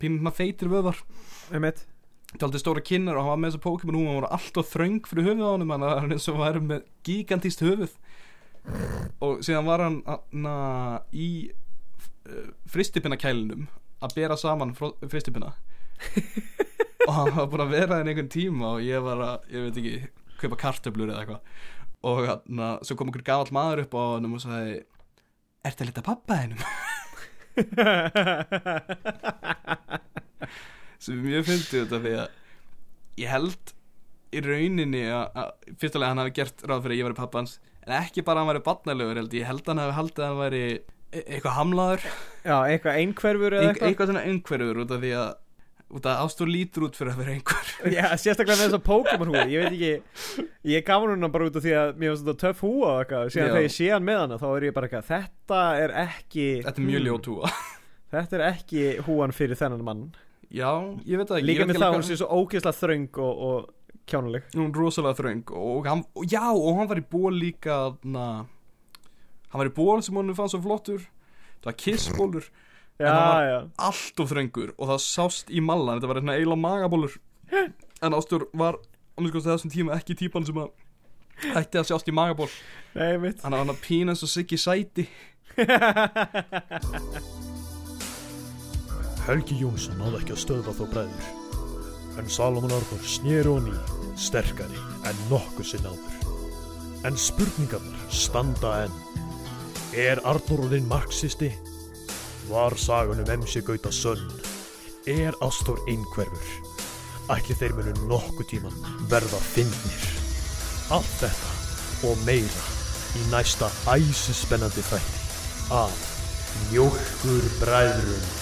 [SPEAKER 2] pínir svona feitir vöðvar
[SPEAKER 1] Einmitt.
[SPEAKER 2] taldi stóra kinnar og hann var með þessu Pokémon hún var alltaf þröng fyrir höfuð á honum hann var eins og væri með gigantíst höfuð og síðan var hann na, í uh, fristipinnakælinum að bera saman fró- fristipinna og hann var búin að vera þenni einhvern tíma og ég var að, ég veit ekki kaupa kartöflur eða eitthvað og hann, svo kom einhver gamall maður upp á hann og sagði Ertu að lita pappa hennum? sem er mjög fyndið þetta því að ég held í rauninni að, að fyrst alveg hann hafi gert ráð fyrir að ég væri pappa hans en ekki bara að hann væri barnalegur held ég, ég held að hann hafi haldið að hann væri e- eitthvað hamlaður
[SPEAKER 1] Já, eitthvað einhverfur eða
[SPEAKER 2] Ein,
[SPEAKER 1] eitthvað
[SPEAKER 2] eitthvað svona einhverjur út af því að út af ástúr lítur út fyrir að vera einhver
[SPEAKER 1] Já, sérstaklega með þess að Pokémon húi Ég veit ekki, ég gaf hann bara út af því að mér finnst þetta töff húa og eitthvað síðan
[SPEAKER 2] Já.
[SPEAKER 1] þegar ég sé hann með hana þá er ég bara eitthvað Þetta er ekki
[SPEAKER 2] þetta er
[SPEAKER 1] Hmm.
[SPEAKER 2] mjög ljótúa
[SPEAKER 1] Þetta er ekki húan fyrir þennan mann
[SPEAKER 2] já, ég veit það ekki
[SPEAKER 1] Líka
[SPEAKER 2] ég veit
[SPEAKER 1] með
[SPEAKER 2] ekki
[SPEAKER 1] það að
[SPEAKER 2] alveg
[SPEAKER 1] hún
[SPEAKER 2] hvað-
[SPEAKER 1] sé svo ógeðslega þröng og, og kjánuleg
[SPEAKER 2] hún er rosalega þröng og hann, og já, og hann var í ból líka na, hann var í ból sem hann fann svo flottur það var kissbólur
[SPEAKER 1] Já,
[SPEAKER 2] hann var-
[SPEAKER 1] já,
[SPEAKER 2] allt of þröngur og það sást í mallan þetta var eitthvað eila magabólur en Ástjór var um sko þessum tíma ekki típan sem að ætti að sjást í magaból
[SPEAKER 1] nei mitt
[SPEAKER 2] hann var hann að pína eins og siggi sæti
[SPEAKER 5] Helgi Jónsson náði ekki að stöðva þá bræður. En Salomon Arnór snýr og ný, sterkari en nokkuð sinn áður. En spurningarnar standa enn. Er Arnór orðinn marxisti? Var sagan um MC Gauta sönn? Er Ástór einhverfur? Ætli þeir munu nokkuð tíman verða fyndnir? Allt þetta og meira í næsta æsispennandi þætti af Mjólkur bræðrum.